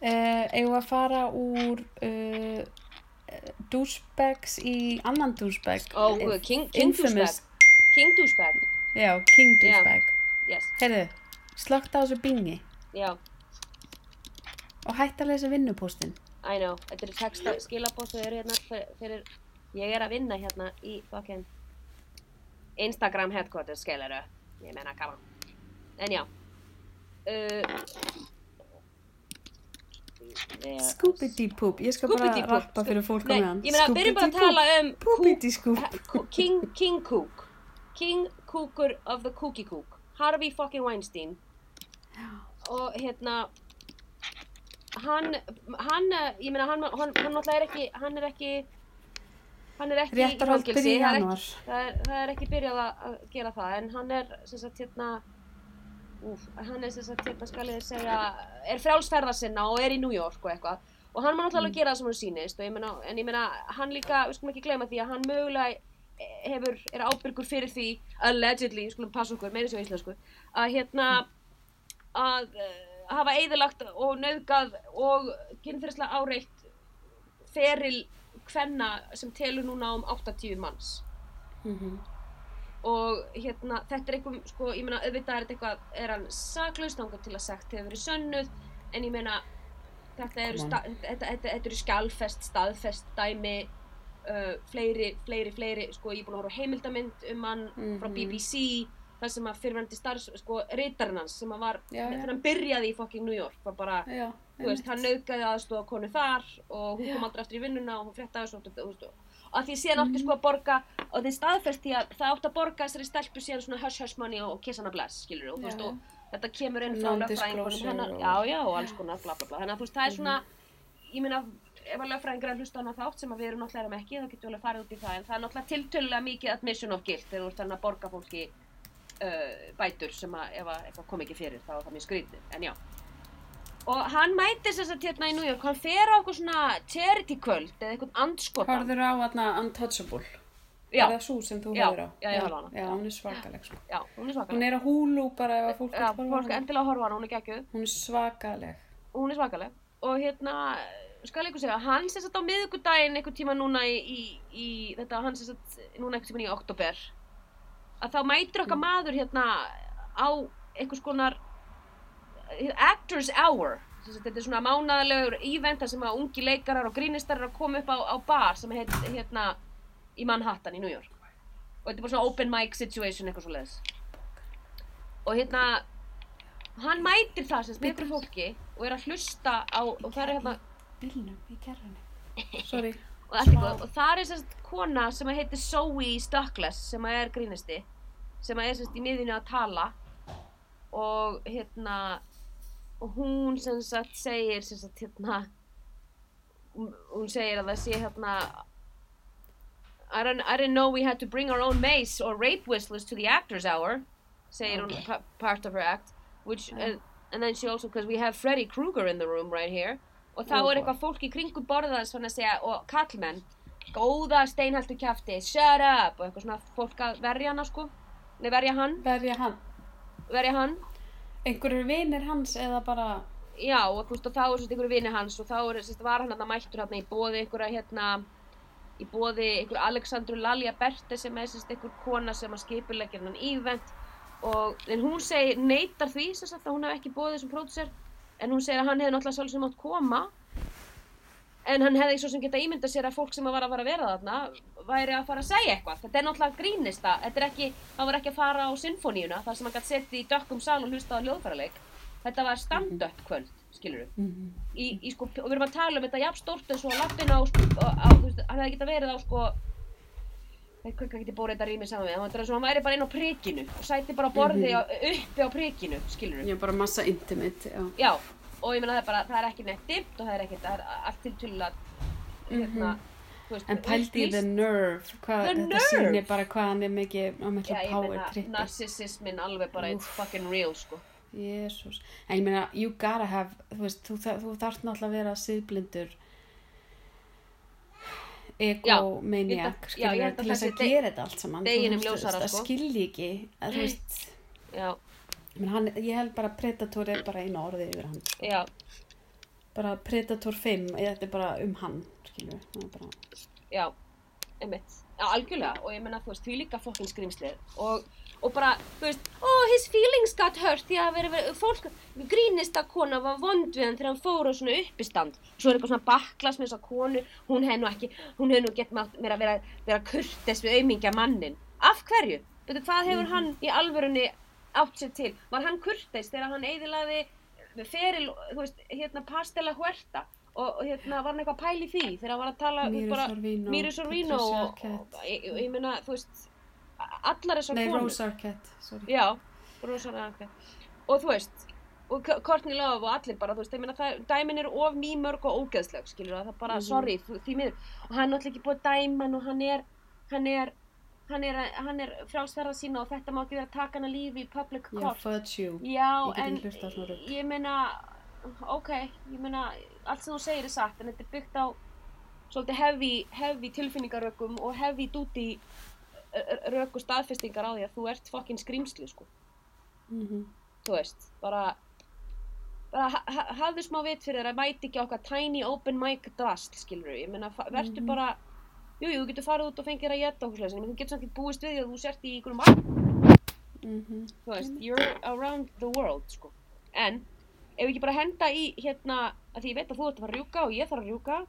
Speaker 1: Uh, eigum við að fara úr uh, douchebags í annan douchebag
Speaker 2: ó,
Speaker 1: Inf-
Speaker 2: King, King
Speaker 1: infamous-
Speaker 2: Douchebag. King Douchebag,
Speaker 1: Já, King
Speaker 2: Já.
Speaker 1: douchebag
Speaker 2: yes,
Speaker 1: Heyrðu, slökkt á þessu bingi
Speaker 2: já,
Speaker 1: og hætt að lesa vinnupóstinn
Speaker 2: I know. Þetta eru texta, skilabóð sem eru hérna fyrir, fyrir, ég er að vinna hérna í fucking Instagram headquarters, skiluru. Ég meina, come on. En já. Uh, eh,
Speaker 1: Scooby-Dee-Poop, ég skal bara
Speaker 2: Scooby-Dee-Poop.
Speaker 1: rappa fyrir fólk á
Speaker 2: Nei,
Speaker 1: meðan
Speaker 2: ég meina, byrjum bara að tala um
Speaker 1: Poopity-Scoop
Speaker 2: Ha- Kú- King, King Cook King Cooker of the Cookie Cook Harvey fucking Weinstein og hérna hann hann, eh, ég meina, hann, hann, hann náttúrulega er ekki hann er ekki hann er ekki
Speaker 1: Réttarhöld
Speaker 2: fangelsi,
Speaker 1: byrja í
Speaker 2: það er ekki-
Speaker 1: janúar.
Speaker 2: það er, það er ekki byrjað að að gera það en hann er sem sagt hérna úf, hann er sem sagt hérna skal ég segja er frjálsferða sinna og er í New York og eitthvað og hann má
Speaker 1: Mm.
Speaker 2: náttúrulega alveg gera það sem hann sýnist og ég meina, en ég meina hann líka, við skulum ekki gleyma því að hann mögulega hefur, er ábyrgur fyrir því allegedly, við skulum passa okkur, meira sem íslensku að hérna að eh, hafa eigðilagt og nöðgað og kynferðislega áreitt feril hvenna sem telur núna um 80 manns
Speaker 1: Mhm.
Speaker 2: og hérna, þetta er eitthvað, sko, ég meina, auðvitað er þetta eitthvað, er hann saklaus, þangar til að sagt hefur verið sönnuð, en ég meina, þetta eru,
Speaker 1: Come on.
Speaker 2: sta, þetta, þetta, þetta eru skjálfest, staðfest, dæmi, uh, fleiri, fleiri, fleiri, sko, ég er búin að horfa á heimildamynd um hann frá
Speaker 1: Mhm.
Speaker 2: BBC, þar sem að fyrirvændi starfs, sko, reytarinn hans, sem að var,
Speaker 1: Já, já.
Speaker 2: þegar hann byrjaði í fucking New York, var bara,
Speaker 1: Já,
Speaker 2: þú veist, hann nauðgæði aðstofa konu þar og hún kom aldrei aftur í vinnuna og hún fréttaði svo, þú veist, og að því síðan
Speaker 1: Mhm.
Speaker 2: átti sko að borga og þeir staðfest því að það átti að borga þessari stelpu síðan svona hush hush money og kiss hana bless, skilur og þú veist,
Speaker 1: Já.
Speaker 2: og þetta kemur inn frá
Speaker 1: Non-disclosure
Speaker 2: lögfræðingunum hennar,
Speaker 1: og- Mhm.
Speaker 2: já, já, og alls konar, bla, bla, bla, þannig að þú veist, það er svona, ég meina, ef að lögfræðingur er að hlusta á hana þátt sem að við erum náttúrulega erum ekki, þá getum við alveg farið út í það, en það er náttúrulega tiltölulega mikið admission of guilt þegar þú ert þannig að borga fólki uh, bætur sem að ef að eitthvað kom ekki fyrir, þá er það mjög skrítið, en já. Og hann mætir þess að hérna í New York, hann fer á eitthvað svona charity kvöld eða eitthvað andskotan.
Speaker 1: Horður á aðna Untouchable
Speaker 2: Já.
Speaker 1: Er það svo sem þú
Speaker 2: Já,
Speaker 1: horður á?
Speaker 2: já, ég horfði á hana.
Speaker 1: Já, hún er svakaleg sko
Speaker 2: Já, hún
Speaker 1: Hún
Speaker 2: er svakaleg.
Speaker 1: er á húlu bara ef að fólk
Speaker 2: Já,
Speaker 1: vill horfa á
Speaker 2: fólk
Speaker 1: hana.
Speaker 2: endilega horfa á hana, hún er geggjuð.
Speaker 1: Hún er svakaleg
Speaker 2: Hún er svakaleg. Og hérna, skal ég ykkur segja, hann sem sagt á miðvikudaginn einhvern tíma núna í, í, í þetta, hann sem sagt núna einhvern tíma í oktober, að þá mætir okkar maður hérna á einhvers konar eh, Actors Hour. Sem sagt, Þetta er svona mánadalegur event þar sem að ungi leikarar og grínistar eru að koma upp á, á bar sem heit hérna í Manhattan í New York. Og þetta er bara svona open mic situation eitthvað svo Og hérna, hann mætir það sem sagt með ykkur fólki og er að hlusta á, og það er hérna,
Speaker 1: Bílnum í gerðinni Sorry
Speaker 2: og allt eitthvað, og það er sérst kona sem að heitir Zoe Stuckless sem að er grínisti sem að er sérst í miðinu að tala og hérna og hún sem sagt segir sem sagt hérna hún hún segir að það sé hérna I don't, I didn't know we had to bring our own mace or rape whistlers to the actor's hour, segir hún pa part of her act, which, and, and then she also, because we have Freddy Krueger in the room right here, og þá
Speaker 1: Oh, boy.
Speaker 2: er eitthvað fólk í kringum borðað svona að segja, og kallmenn, góða steinhaltu kjafti, shut up, og eitthvað svona fólk að verja hana sko, nei verja hann,
Speaker 1: Verja hann
Speaker 2: verja hann,
Speaker 1: Einhverjur vinir hans eða bara
Speaker 2: já, og, þú veist, og þá er svona einhverju vini hans og þá er, sérst, var hann að mættur hann í bóði einhverja hérna, í bóði einhver Alexandru Lalja Berte sem er sérst einhver kona sem að skipulegja hann ívent og en hún segir neytar því sem sagt að hún hef ekki bóðið sem pródusser en hún segir að hann hefði náttúrulega sjálf sem átt koma en hann hefði svo sem geta ímyndað sér að fólk sem var að fara að vera þarna væri að fara að segja eitthvað þetta er náttúrulega grínista, þetta er ekki hann var ekki að fara á sinfoníuna þar sem hann gætt setið í dökkum sal og hlustað á hljóðfæraleik þetta var stand-up kvöld, skilur
Speaker 1: Mhm.
Speaker 2: í, í sko, og við erum að tala um þetta jafn stórt eins og lappin á, sko, á, á þú veist, hann hefði geta verið á sko veit hvað hvað geti bórið þetta rými saman við. Það er eins og hann væri bara inn á prikinu og sæti bara á borði mm uppi á prikinu, skilur
Speaker 1: Ég er bara massa intimate, já.
Speaker 2: Já, og ég meina það er bara, það er ekki neitt dimmt og það er ekkert, það er allt til tullat, hérna, þú veist,
Speaker 1: Mhm. En pældi í the nerve, hvað
Speaker 2: The
Speaker 1: þetta
Speaker 2: nerve!
Speaker 1: sýnir bara hvað hann er mikið á miklu
Speaker 2: Já, ég
Speaker 1: power
Speaker 2: meina,
Speaker 1: trippi.
Speaker 2: narcissismin alveg bara, it's fucking real, sko.
Speaker 1: Jésús. En ég meina, you gotta have, þú veist, þú, þa- þú þarft náttúrulega að vera siðblindur
Speaker 2: ég held
Speaker 1: egomaniac,
Speaker 2: að- já, ég
Speaker 1: skilur
Speaker 2: held
Speaker 1: við,
Speaker 2: að
Speaker 1: til þess
Speaker 2: það
Speaker 1: að
Speaker 2: sé deg-
Speaker 1: gera þetta allt saman. Þú
Speaker 2: deginum
Speaker 1: veist, þú veist,
Speaker 2: ljósara,
Speaker 1: það
Speaker 2: sko. Mm.
Speaker 1: skilji ekki, að þú veist,
Speaker 2: Já,
Speaker 1: ég meina, hann, ég held bara að predator er bara einu orðið yfir hann, sko.
Speaker 2: já,
Speaker 1: Bara predator 5, eða þetta er bara um hann, skilur við, það er bara...
Speaker 2: já, einmitt, já, algjörlega, og ég meina, þú veist, því líka fokkin skrýmslið og, og bara, þú veist, oh, his feelings got hurt, því að vera, vera fólk, grínista kona var vond við hann þegar hann fór á svona uppistand, svo er eitthvað svona baklas með þessa konu, hún hefði nú ekki, hún hefði nú gett mátt vera, vera, vera kurtes við aumingja mannin, af hverju, betur, hvað hefur hann í alvörunni átt sér til, var hann kurtes þegar hann eiðilaði feril, þú veist, hérna, pastela huerta, Og og hérna var hann eitthvað pæli því þegar hann var að tala
Speaker 1: Mýri
Speaker 2: bara-
Speaker 1: Sorvino,
Speaker 2: Mýri Sorvino
Speaker 1: Patricia
Speaker 2: og, og,
Speaker 1: Arquette.
Speaker 2: og ég, ég- ég meina, þú veist, a- allar þessar
Speaker 1: Nei,
Speaker 2: konur.
Speaker 1: Rose Arquette, sorry.
Speaker 2: Já, Rosa Ranke. Og þú veist, og K- Courtney Love og allir bara, þú veist, ég meina, það, dæmin eru of mýmörg og ógeðsleg, skilur það, bara,
Speaker 1: Mhm.
Speaker 2: sorry, þú, því miður. Og hann er náttúrulega ekki búið að dæma hann og hann er, hann er, hann er, hann er frjálsverða sína og þetta má ekki vera að taka hann að lífi í public
Speaker 1: Já,
Speaker 2: court.
Speaker 1: fudge you.
Speaker 2: Já,
Speaker 1: Ég get
Speaker 2: en
Speaker 1: ekki hlustað á svona rugl.
Speaker 2: ég meina, ok, ég meina, allt sem þú segir er satt, en þetta er byggt á svolítið hefi, hefi tilfinningarökum og hefi dúti röku staðfestingar á því að þú ert fokkin skrýmsli, sko,
Speaker 1: Mhm.
Speaker 2: þú veist, bara, bara ha- ha- hafðu smá vit fyrir þér að mæti ekki á okkar tiny open mic drast, skilur ég meina, fa- vertu
Speaker 1: Mhm.
Speaker 2: bara, jú, jú, þú getur farið út og fengið þér að geta okkur en þú getur samt ekki búist við því að þú sért í einhverjum vatn
Speaker 1: Mhm.
Speaker 2: þú veist, you're around the world, sko. En, ef við ekki bara henda í, hérna, að því ég veit að þú ert að fara að rjúka og ég þarf að rjúka,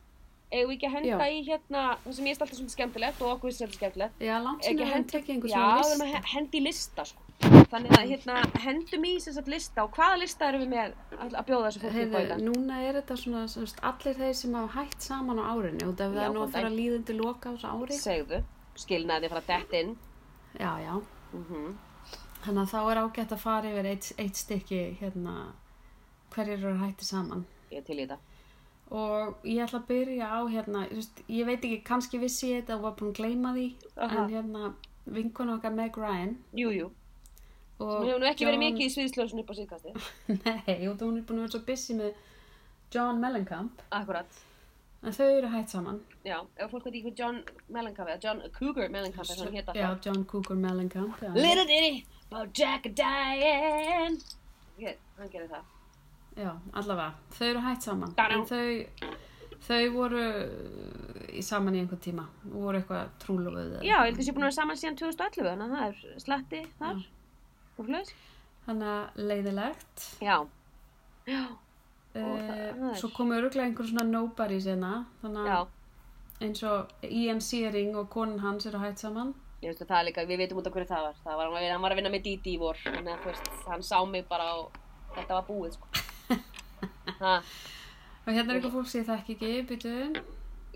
Speaker 2: ef við ekki að henda
Speaker 1: Já.
Speaker 2: í, hérna, það sem ég er alltaf svolítið skemmtilegt og okkur finnst þetta skemmtilegt,
Speaker 1: Já, langt
Speaker 2: ef
Speaker 1: sem
Speaker 2: ekki
Speaker 1: að
Speaker 2: að
Speaker 1: hann
Speaker 2: henda,
Speaker 1: tekja einhver
Speaker 2: já,
Speaker 1: svona
Speaker 2: við
Speaker 1: list.
Speaker 2: erum að he- henda í lista, sko. Þannig að, hérna, hendum í sem sagt lista og hvaða lista erum við með að að bjóða þessu fólki upp á hérna? í
Speaker 1: Heyrðu,
Speaker 2: dag?
Speaker 1: núna er þetta svona, semst, allir þeir sem hafa hætt saman á árinu út af
Speaker 2: Já,
Speaker 1: það er nú
Speaker 2: góðan
Speaker 1: að fara
Speaker 2: daginn.
Speaker 1: líðandi loka á þessu ári.
Speaker 2: Segðu, skilnaði frá dett inn.
Speaker 1: Já, já.
Speaker 2: Mm
Speaker 1: Þannig að þá er ágætt að fara yfir eitt, eitt stykki hérna hverjir eru hætti saman.
Speaker 2: Ég er til í þetta.
Speaker 1: Og ég ætla að byrja á hérna, þú veist, ég veit ekki, kannski vissi ég þetta og var búin að gleyma því,
Speaker 2: Aha.
Speaker 1: en hérna vinkun okkar Meg Ryan
Speaker 2: Jú, jú.
Speaker 1: og
Speaker 2: Nú hefur nú ekki verið
Speaker 1: John-
Speaker 2: mikið í sviðsljóðsinn upp á síðkastið.
Speaker 1: Nei, og hún er búin að vera svo busy með John Mellencamp,
Speaker 2: Akkurat.
Speaker 1: en þau eru hætt saman.
Speaker 2: Já, ef fólk veit ekki hvað John Mellencamp eða John Cougar Mellencamp eða hann hétt
Speaker 1: Já,
Speaker 2: alltaf.
Speaker 1: John Cougar Mellencamp, já.
Speaker 2: Little Diddy, about Jack and Diane. Hér, hann gerir það.
Speaker 1: Já, allavega. Þau eru hætt saman.
Speaker 2: Bara-
Speaker 1: En þau, þau voru eh, í saman í einhvern tíma. Voru eitthvað trúlofuð. eða-
Speaker 2: Já, ég held að sé búin að vera saman síðan 2011, þannig að það er slatti þar. Og hlust.
Speaker 1: Þannig að leiðilegt.
Speaker 2: Já. Já, Og það- það
Speaker 1: Uh,
Speaker 2: er-
Speaker 1: svo komu öruglega einhver svona nobody sena. Þannig
Speaker 2: já.
Speaker 1: að eins og E Ian Searing og konan hans eru hætt saman.
Speaker 2: Ég veist að það er líka, við veitum út af hverju það var. Það var, hann var- hann var að vinna með Didi í vor, þannig að þú veist, hann sá mig bara og þetta var búið, sko. Ha,
Speaker 1: Og hérna er eitthvað fólk sem ég þekki ekki, byttu.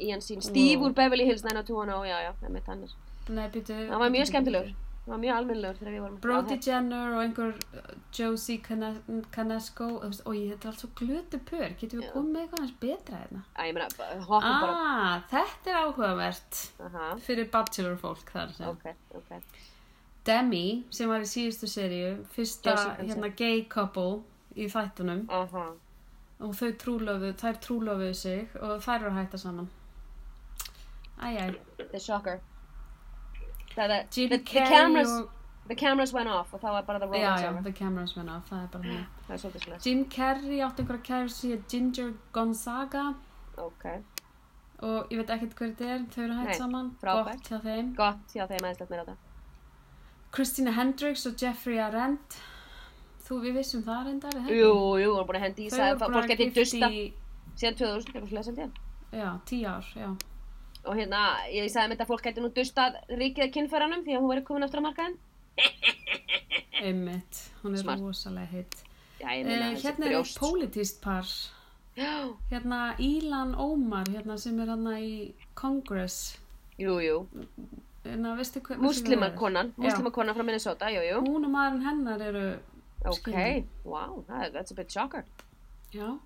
Speaker 2: Ian sín, Steve
Speaker 1: Wow.
Speaker 2: úr Beverly Hills 90210, já, já, það mitt hann er.
Speaker 1: Nei, byttu.
Speaker 2: Hann var mjög skemmtilegur, hann var mjög almennlegur þegar við vorum.
Speaker 1: Brody Jenner og einhver uh, Josie Canes- Canesco og þú veist, oj, þetta er allt svo glötu pör getum við
Speaker 2: Já.
Speaker 1: komið með eitthvað hans betra hérna
Speaker 2: Æ, ég meina, hoppum bara.
Speaker 1: ah, þetta er áhugavert
Speaker 2: Aha,
Speaker 1: fyrir bachelor fólk þar sem
Speaker 2: ok, ok.
Speaker 1: Demi sem var í síðustu seríu fyrsta
Speaker 2: Jessica,
Speaker 1: hérna, gay couple í þættunum
Speaker 2: Aha,
Speaker 1: og þau trúlöfu, þær trúlöfuðu sig og þær eru að hætta saman Æjæ,
Speaker 2: the shocker. Það er, the,
Speaker 1: Jim
Speaker 2: the, the,
Speaker 1: Carrey
Speaker 2: cameras,
Speaker 1: og
Speaker 2: the cameras went off og það var bara the roll
Speaker 1: Já,
Speaker 2: was
Speaker 1: já,
Speaker 2: over.
Speaker 1: the cameras menna, það er bara þannig
Speaker 2: Það er svolítið svolítið.
Speaker 1: Jim Carrey átti einhverja kærustu í Ginger Gonzaga
Speaker 2: Ok,
Speaker 1: og ég veit ekkert hver þetta er, þau eru hægt
Speaker 2: Nei,
Speaker 1: saman
Speaker 2: frábært.
Speaker 1: gott hjá þeim
Speaker 2: gott, já, þegar maður slett mér á það.
Speaker 1: Christina Hendricks og Jeffrey Arendt þú, við vissum það reyndar er það
Speaker 2: Jú,
Speaker 1: ekki?
Speaker 2: jú, hún er búin að hendi í
Speaker 1: þau
Speaker 2: það,
Speaker 1: eru
Speaker 2: fólk
Speaker 1: bara
Speaker 2: geti
Speaker 1: gift
Speaker 2: dusta
Speaker 1: í
Speaker 2: síðan 2000, eitthvað svolítið sem þér.
Speaker 1: já, tíu ár, já
Speaker 2: Og hérna, ég sagði mér þetta að fólk geti nú dustað ríkið að kynfæranum því að hún væri komin aftur á markaðin.
Speaker 1: einmitt, hún er
Speaker 2: Smart.
Speaker 1: rosalega hitt
Speaker 2: Já, ég meina,
Speaker 1: eh,
Speaker 2: þessi
Speaker 1: hérna er eitt
Speaker 2: brjóst.
Speaker 1: pólitíst par
Speaker 2: Já,
Speaker 1: hérna Ílan Ómar hérna, sem er hann í hérna Congress
Speaker 2: jú, jú,
Speaker 1: na, veistu hver-
Speaker 2: Múslimakonan,
Speaker 1: Já.
Speaker 2: múslimakonan frá Minnesota, jú, jú.
Speaker 1: Hún og maðurinn hennar eru
Speaker 2: Ok,
Speaker 1: skilin.
Speaker 2: wow, that- that's a bit shocker.
Speaker 1: Já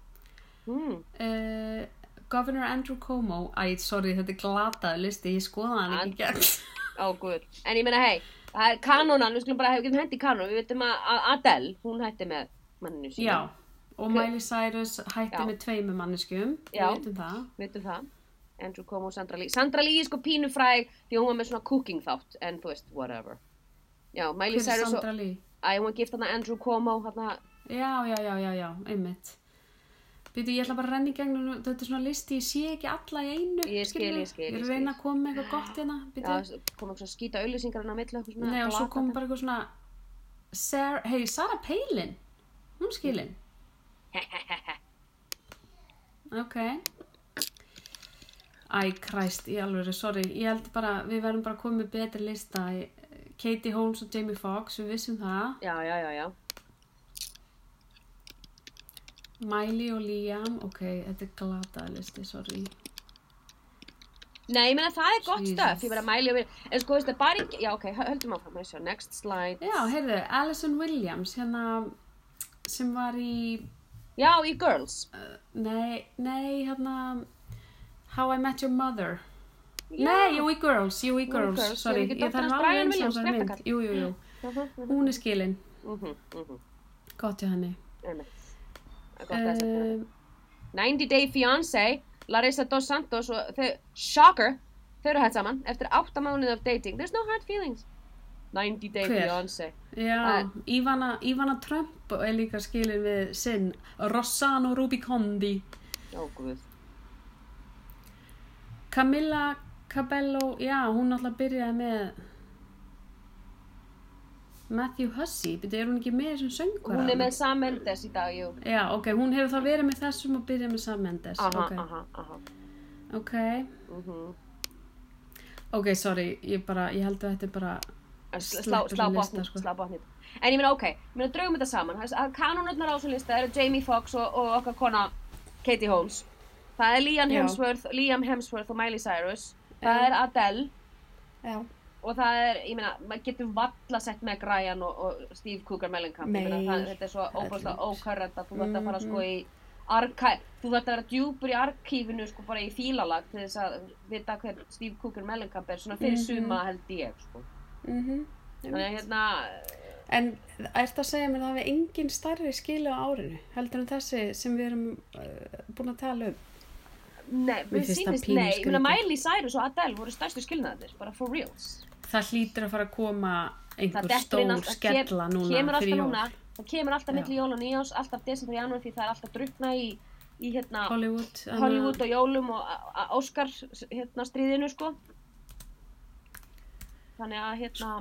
Speaker 2: Hmm,
Speaker 1: uh, Governor Andrew Cuomo Æ, sorry, þetta er glataði listi Ég skoða hann ekki í gegn
Speaker 2: ó guð. En ég meina, hei, það er kanónan, við skulum bara hefum getum hendi kanón. Við veitum að að Adele, hún hætti með manninu sínu.
Speaker 1: Já, og Miley Cyrus hætti
Speaker 2: Já.
Speaker 1: með tveimu manneskjum Við
Speaker 2: Já.
Speaker 1: veitum það
Speaker 2: Við veitum það. Andrew Cuomo og Sandra Lee. Sandra Lee er sko pínu fræg því að hún var með svona cooking þátt, en þú veist, whatever. Já, Miley
Speaker 1: Hver er
Speaker 2: Cyrus og...
Speaker 1: Sandra Lee?
Speaker 2: Æ, hún var gift hann Andrew Cuomo, hann
Speaker 1: Já, já, já, já, já, einmitt Býtu, ég ætla bara að renna í gegnum Þetta er svona listi, ég sé ekki alla í einu
Speaker 2: Ég skil,
Speaker 1: skilurðu.
Speaker 2: ég skil, ég
Speaker 1: Ég er að
Speaker 2: skil.
Speaker 1: reyna að koma með eitthvað gott hérna Býtu,
Speaker 2: að kom eitthvað skýta auðlýsingar hann á milli eitthvað svona
Speaker 1: Nei, og svo
Speaker 2: glatað.
Speaker 1: kom bara eitthvað svona Sarah, hei, Sarah Palin Hún skilin Ok Æ, kræst, í alveg, sorry Ég held bara, við verðum bara komið með betri lista Katie Holmes og Jamie Foxx Við vissum það
Speaker 2: Já, já, já, já.
Speaker 1: Miley og Liam, ok, þetta er glataða listi, sorry
Speaker 2: Nei, ég meina það er gott
Speaker 1: Jesus.
Speaker 2: stöf, ég meina mæli og við, en sko, veist það bara ekki, já, ok, hö- höldum áfram, maður sjá, next slide.
Speaker 1: Já, heyrðu, Alison Williams Hérna, sem var í
Speaker 2: Já, í Girls.
Speaker 1: Nei, nei, hérna How I Met Your Mother
Speaker 2: Já.
Speaker 1: Nei, jú í Girls, jú í
Speaker 2: Jú,
Speaker 1: Girls,
Speaker 2: Girls,
Speaker 1: sorry,
Speaker 2: er ekki
Speaker 1: ég
Speaker 2: dóttir
Speaker 1: þarf
Speaker 2: hans
Speaker 1: alveg
Speaker 2: Brian
Speaker 1: eins og
Speaker 2: Williams,
Speaker 1: þessari mynd,
Speaker 2: réttakall?
Speaker 1: jú, jú, jú, hún er skilin,
Speaker 2: Mhm, mhm,
Speaker 1: gott hjá henni.
Speaker 2: einmitt. Það er gott að þess að
Speaker 1: Uh,
Speaker 2: 90 Day Fiancé, Larissa Dos Santos og þau, shocker, þau eru hægt saman eftir 8 mánuð af dating. There's no hard feelings. 90 Day
Speaker 1: Hver?
Speaker 2: Fiancé.
Speaker 1: Eh, já,
Speaker 2: Það-
Speaker 1: Ivana, Ivana Trump er líka skilin við sinn, Rossano Rubicondi,
Speaker 2: Ó, guð.
Speaker 1: Camilla Cabello, já, hún náttúrulega byrjaði með Matthew Hussey, betur, er hún ekki með í þessum söngvara?
Speaker 2: Hún er með Sam Mendes í dag, jú.
Speaker 1: Já, ok, hún hefur þá verið með þessum og byrjaði með Sam Mendes,
Speaker 2: Aha,
Speaker 1: ok,
Speaker 2: aha, aha.
Speaker 1: ok,
Speaker 2: Mm
Speaker 1: ok, sorry, ég bara, ég held að þetta er bara...
Speaker 2: Að sl- slá,
Speaker 1: Sleppur
Speaker 2: slá
Speaker 1: lista,
Speaker 2: botnið,
Speaker 1: sko.
Speaker 2: slá botnið en ég meina ok, ég meina draugum þetta saman Það- að kanónarnar á þessum lista eru Jamie Foxx og, og okkar kona Katie Holmes það er Liam
Speaker 1: Já.
Speaker 2: Hemsworth, Liam Hemsworth og Miley Cyrus það er Adele
Speaker 1: Já.
Speaker 2: og það er, ég meina, maður getur valla sett með Ryan og, og Steve Cougar Mellencamp Ég meina,
Speaker 1: Nei,
Speaker 2: það, þetta er svo
Speaker 1: það er
Speaker 2: óbúinlega
Speaker 1: ljótt.
Speaker 2: ókörrenda þú þarft að fara
Speaker 1: Mhm.
Speaker 2: sko í arkæ þú þarft að vera djúpur í arkífinu sko bara í fílalag til þess að vita hver Steve Cougar Mellencamp er svona fyrir
Speaker 1: Mhm.
Speaker 2: suma held ég sko.
Speaker 1: Mhm.
Speaker 2: þannig að hérna
Speaker 1: En ert að segja mér að það hefur engin starri skilu á árinu heldur en þessi sem við erum uh, búin að tala um?
Speaker 2: Nei,
Speaker 1: Mér
Speaker 2: við
Speaker 1: finnst það
Speaker 2: sýnist,
Speaker 1: pínu
Speaker 2: nei, ég meina
Speaker 1: skrítið.
Speaker 2: Miley Cyrus og Adele voru stærstu skilnaðir, bara for reals.
Speaker 1: Það hlýtur að fara að koma einhver
Speaker 2: dettur inn
Speaker 1: stór
Speaker 2: allt- kem-
Speaker 1: skella núna
Speaker 2: kemur alltaf
Speaker 1: fyrir jól.
Speaker 2: núna, það kemur
Speaker 1: Já.
Speaker 2: alltaf milli jól og nýjáns, alltaf desember og janúar því það er alltaf drukna í, í hérna
Speaker 1: Hollywood. annað-
Speaker 2: Hollywood og jólum og a- a- Óskar hérna stríðinu sko. Þannig að hérna,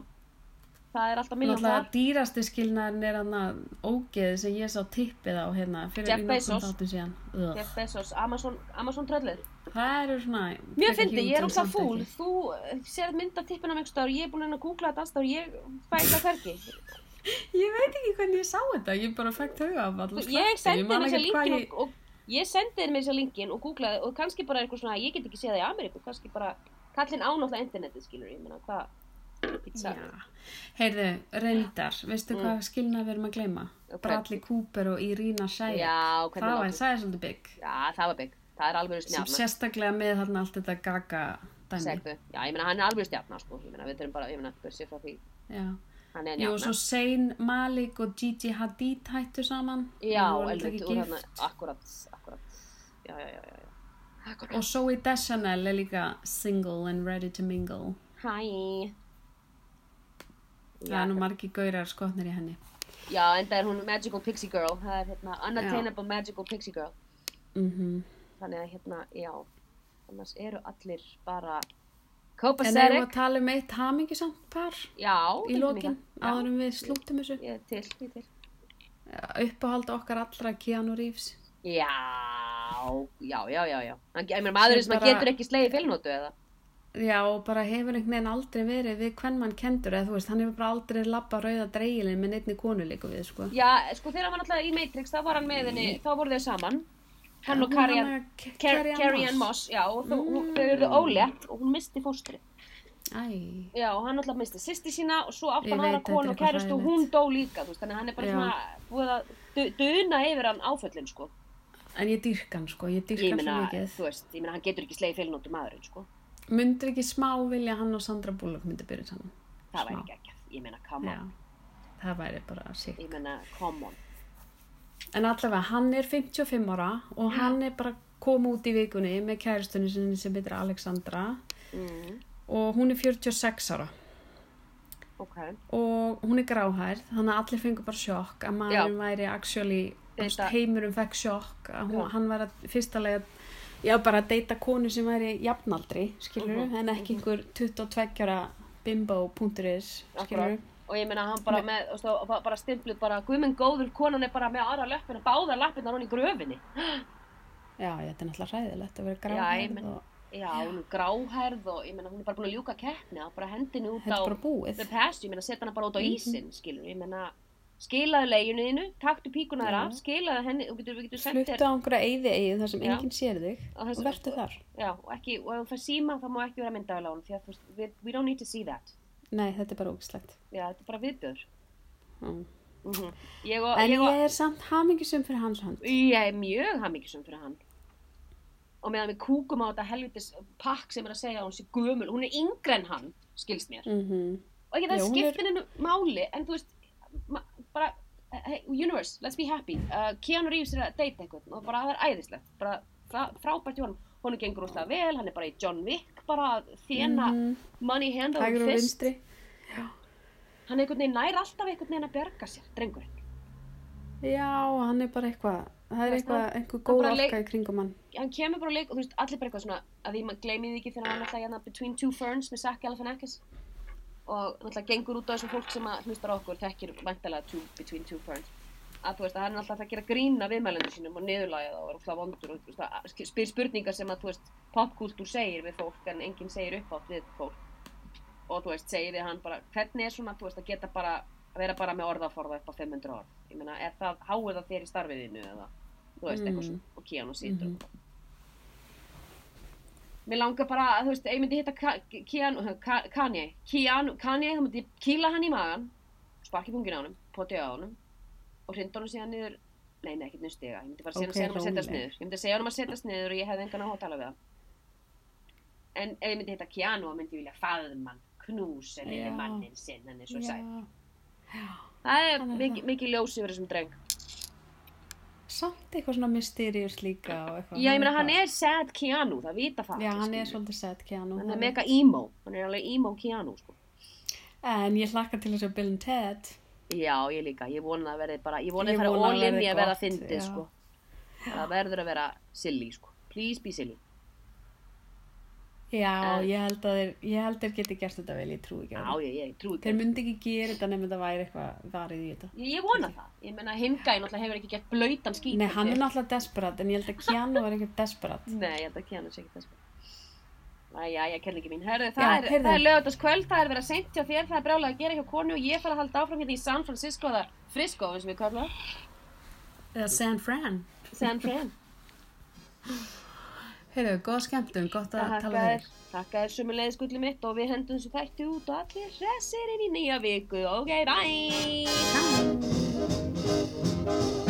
Speaker 2: það er alltaf miljón
Speaker 1: Náttúrulega
Speaker 2: þar.
Speaker 1: dýrasti skilnaðurinn er hann að ógeðið sem ég sá tippið á hérna fyrir
Speaker 2: Jeff
Speaker 1: í
Speaker 2: Bezos.
Speaker 1: nokkrum þáttum síðan. Ugh.
Speaker 2: Jeff Bezos, Amazon, Amazon tröllið.
Speaker 1: Það eru svona...
Speaker 2: Mjög
Speaker 1: frekar
Speaker 2: fyndi,
Speaker 1: huge
Speaker 2: ég er
Speaker 1: en
Speaker 2: ósað
Speaker 1: samt
Speaker 2: fúl,
Speaker 1: ekki.
Speaker 2: þú eh, sérð myndatippin af einhvers staðar, ég er búin að reyna að googla þetta alls staðar, ég fæ þetta hvergi.
Speaker 1: Ég veit ekki hvernig ég sá þetta, ég bara fækt huga af allir
Speaker 2: ég sendi þér með þessa linkin
Speaker 1: ég...
Speaker 2: og, og ég sendi þér með þessa linkin og googlaði og kannski bara eitthvað svona ég get ekki séð það í Ameríku, kannski bara kallinn ánáttlega internetið skilur ég meina hvað get
Speaker 1: Já,
Speaker 2: sagt.
Speaker 1: heyrðu, reyndar, veistu
Speaker 2: Mm.
Speaker 1: hvað skilnað við erum að gleyma?
Speaker 2: Og
Speaker 1: Bradley Cooper og Irina Shayk.
Speaker 2: já, hvernig
Speaker 1: það var
Speaker 2: láttu?
Speaker 1: sæði svolítið bygg.
Speaker 2: já, það var bygg, það er alveg
Speaker 1: Sem
Speaker 2: stjarnar
Speaker 1: sérstaklega með þarna allt þetta gaga dæmi.
Speaker 2: segðu, já ég meina hann er alveg stjarnar sko, ég meina við þurfum bara, ég meina börsið frá því
Speaker 1: Já.
Speaker 2: hann er
Speaker 1: Jú, og svo
Speaker 2: njána
Speaker 1: Zayn Malik og Gigi Hadid hættu saman.
Speaker 2: já,
Speaker 1: Þau voru
Speaker 2: elveit,
Speaker 1: ekki
Speaker 2: úr
Speaker 1: gift.
Speaker 2: hann akkurat, akkurat já, já, já, já, já.
Speaker 1: Og Zoe Deschanel er líka single and ready to mingle.
Speaker 2: hæ
Speaker 1: Það er nú margi gaurar skotnir í henni.
Speaker 2: já, enda er hún magical pixie girl það er hérna unattainable magical pixie girl
Speaker 1: Mm
Speaker 2: þannig að hérna, já annars eru allir bara
Speaker 1: En erum við
Speaker 2: copacetic
Speaker 1: að tala um eitt hamingisamt par
Speaker 2: já,
Speaker 1: í lokin,
Speaker 2: áður
Speaker 1: áðurum við slúttum þessu.
Speaker 2: ég er til, ég er til
Speaker 1: Uppáhald okkar allra Keanu Reeves.
Speaker 2: já, já, já, já, já Hann- ég meina maðurinn
Speaker 1: Sem
Speaker 2: sem bara...
Speaker 1: bara-
Speaker 2: getur ekki slegið félnótu eða
Speaker 1: Já, og bara hefur einhvern veginn aldrei verið við hvern mann kendur eða þú veist, hann hefur bara aldrei labba rauða dreigilin með neittni konu líka við, sko.
Speaker 2: já, sko þegar hann var alltaf í Matrix þá var hann með henni, þá voru þau saman hann og
Speaker 1: Hún
Speaker 2: Carrie
Speaker 1: hana
Speaker 2: Ann
Speaker 1: Ke-
Speaker 2: Car- Carrie Ann Moss, já, og þau, mm. þau eruðu ólétt og hún misti fóstri
Speaker 1: Á, Æ,
Speaker 2: Já, og hann alltaf misti sýsti sína og svo átt
Speaker 1: Ég
Speaker 2: hann
Speaker 1: veit,
Speaker 2: aðra
Speaker 1: þetta er
Speaker 2: konu og
Speaker 1: eitthvað
Speaker 2: kærustu og
Speaker 1: hræðilegt.
Speaker 2: hún dó líka, þú veist, þannig að hann er bara
Speaker 1: Já.
Speaker 2: svona búið að du- duna yfir hann áföllin, sko.
Speaker 1: en ég dýrka hann sko, ég dýrka
Speaker 2: Ég
Speaker 1: hann svo
Speaker 2: meina,
Speaker 1: mikið.
Speaker 2: þú veist, ég meina, hann getur ekki slegið félnóttu maðurinn, sko.
Speaker 1: Myndir ekki smá vilja að hann og Sandra Bullock myndi byrja saman?
Speaker 2: Það
Speaker 1: Smá.
Speaker 2: væri ekki ekki, ég meina, come
Speaker 1: Já,
Speaker 2: on,
Speaker 1: það væri bara sík.
Speaker 2: ég meina, come on.
Speaker 1: En allavega, hann er 55 ára og hann er bara kom út í vikunni með kæristunni sinni sem heitir Alexandra Mhm,
Speaker 2: Mm,
Speaker 1: og hún er 46 ára
Speaker 2: ok,
Speaker 1: og hún er gráhærð þannig að allir fengur bara sjokk að maðurinn væri actually,
Speaker 2: Deyta.
Speaker 1: Deita. heimurum fekk sjokk að hún,
Speaker 2: Já.
Speaker 1: hann væri að fyrsta lega já bara að deyta konu sem væri jafnaldri, skilur
Speaker 2: Mhm.
Speaker 1: en ekki einhver 22 ára bimbo.is, skilur
Speaker 2: akkurat. Og ég meina, hann bara með, þú veist, og ba- bara stimpluð bara, guðminn góður, konan er bara með aðra löppina, báðar lappirnar hún í gröfinni.
Speaker 1: já, þetta er náttúrulega ræðilegt að vera
Speaker 2: Já, ég
Speaker 1: gráhærð
Speaker 2: meina-
Speaker 1: og
Speaker 2: Já, hún er gráhærð og, ég meina, hún er bara búin að ljúka keppni, það er bara hendinu út
Speaker 1: þetta
Speaker 2: á...
Speaker 1: er bara búið Mhm.
Speaker 2: the past, ég meina setja hana bara út á ísinn, mm skilur, ég meina skilaðu leginu þínu, taktu píkuna þar af, skilaðu henni, og getur, við getur sendt
Speaker 1: fluttu
Speaker 2: þér,
Speaker 1: á einhverja eyði eigið þar sem
Speaker 2: Já.
Speaker 1: enginn sér þig
Speaker 2: Á
Speaker 1: og
Speaker 2: þessu-
Speaker 1: vertu þar
Speaker 2: já, og ekki, og ef þú fær síma þá má ekki vera myndavel á hún, því að þú veist, we, we don't need to see that,
Speaker 1: nei, þetta er bara ógislegt
Speaker 2: já, þetta er bara viðbjör.
Speaker 1: mm.
Speaker 2: Mm Ég og,
Speaker 1: en
Speaker 2: ég og,
Speaker 1: ég er samt hamingisum fyrir hans hand
Speaker 2: ég er mjög hamingisum fyrir hann. Og meðan við kúkum á þetta helvitis pakk sem er að segja að hún sé gömul, hún er yngre en hann, skilst mér.
Speaker 1: mm
Speaker 2: Og ekki það
Speaker 1: Já, hún er-
Speaker 2: skiptir hennu máli, en þú veist, ma- bara, eh, hey, universe, let's be happy. Uh, Keanu Reeves er að deyta eitthvað og bara það er æðislegt, bara fra- frábært í honum. Honum gengur úrslega vel, hann er bara í John Wick, bara að þjena
Speaker 1: Mhm.
Speaker 2: money handle
Speaker 1: hægur og
Speaker 2: fist.
Speaker 1: vinstri
Speaker 2: Hann einhvern veginn nær alltaf einhvern veginn að bjarga sér, drengurinn.
Speaker 1: já, hann er bara eitthvað það
Speaker 2: Þú
Speaker 1: er
Speaker 2: veist,
Speaker 1: eitthvað,
Speaker 2: hann-
Speaker 1: einhver
Speaker 2: hann
Speaker 1: góð
Speaker 2: bara leik-
Speaker 1: orka í kringum hann
Speaker 2: Hann kemur bara á leik og þú veist, allir bara eitthvað svona, að því maður gleymið því ekki þegar hann var alltaf hérna Between Two Ferns með Zac Galifianakis og náttúrulega gengur út á þessum fólk sem að hlustar á okkur þekkir væntalega two, Between Two Ferns að þú veist að hann er alltaf að gera grína viðmælendur sínum og niðurlægja þá og er óslega vondur og þú veist, að sk- spyr spurningar sem að þú veist popkultúr segir við fólk en enginn segir upp átt við fólk og þú veist segir við hann bara hvernig er svona þú veist að geta bara að vera bara með orðaforða upp á 500 orð ég meina er það háið það þér í starfiðinu eða þú veist
Speaker 1: Mm.
Speaker 2: eitthvað svona og Keanu situr
Speaker 1: Mhm.
Speaker 2: mm -hmm. Mér langar bara að þú veist, ef ég myndi hitta Ka- Keanu, eh, Ka- Kanye, Keanu, Kanye, þá myndi ég kýla hann í magan, sparki pungin á hann, poti á hann og hrinda hann síðan niður nei, nei, ekki niður stiga, ég myndi bara segja
Speaker 1: Ok,
Speaker 2: okay, hann að setjast
Speaker 1: róleg.
Speaker 2: niður ég myndi segja hann að setjast niður og ég hefði engan á að tala við hann en ef ég myndi hitta Keanu þá myndi ég vilja faðum hann, knús en
Speaker 1: Já.
Speaker 2: yfir mannin sinn, hann er svo
Speaker 1: já.
Speaker 2: sæt það er
Speaker 1: Hann er
Speaker 2: mikið
Speaker 1: það.
Speaker 2: miki ljós yfir þessum dreng
Speaker 1: samt eitthvað svona mysterious líka og eitthvað
Speaker 2: já, ég meina hann er sad Keanu, það vita það
Speaker 1: já,
Speaker 2: allir,
Speaker 1: hann er
Speaker 2: skilur.
Speaker 1: svolítið sett Keanu
Speaker 2: hann er mega emo, hann er alveg emo Keanu sko.
Speaker 1: en ég hlakka til þess að Bill and Ted
Speaker 2: já, ég líka, ég vona að verði bara ég vona
Speaker 1: Ég
Speaker 2: að það
Speaker 1: vona að
Speaker 2: er all in
Speaker 1: verði
Speaker 2: í að verða
Speaker 1: gott, já.
Speaker 2: fyndið sko. það verður að vera silly, sko. please be silly
Speaker 1: já,
Speaker 2: En-
Speaker 1: ég held að þeir ég held þeir geti gert þetta vel, ég trú ekki á
Speaker 2: já,
Speaker 1: það
Speaker 2: ég, ég trúi
Speaker 1: þeir myndi ekki gera þetta nefnum þetta væri eitthvað varið í þetta
Speaker 2: Ég, ég vona það. Ég meina, hingæði náttúrulega hefur ekki gert blöytan skýt.
Speaker 1: Nei, hann er náttúrulega desperat, en ég held að Keanu var ekkert desperat.
Speaker 2: Nei, ég held að Keanu sé ekki þess. Æja, ég kenn ekki mín. Herðu,
Speaker 1: Já,
Speaker 2: það, er,
Speaker 1: heyrðu.
Speaker 2: það er lögutaskvöld, það er verið að seint hjá þér, það er brjálega að gera hjá konu og ég fara að halda áfram hérna í San Francisco eða Frisco, eins og við kallum það.
Speaker 1: Eða San Fran.
Speaker 2: San Fran.
Speaker 1: Heyrðu, góða skemmtum, gott að
Speaker 2: Takka
Speaker 1: tala við
Speaker 2: þér.
Speaker 1: þér.
Speaker 2: Takka þér sumulegið skulli mitt og við hendum þessu þætti út og allir hressir inn í nýja viku. Ok, bye!
Speaker 1: Takk.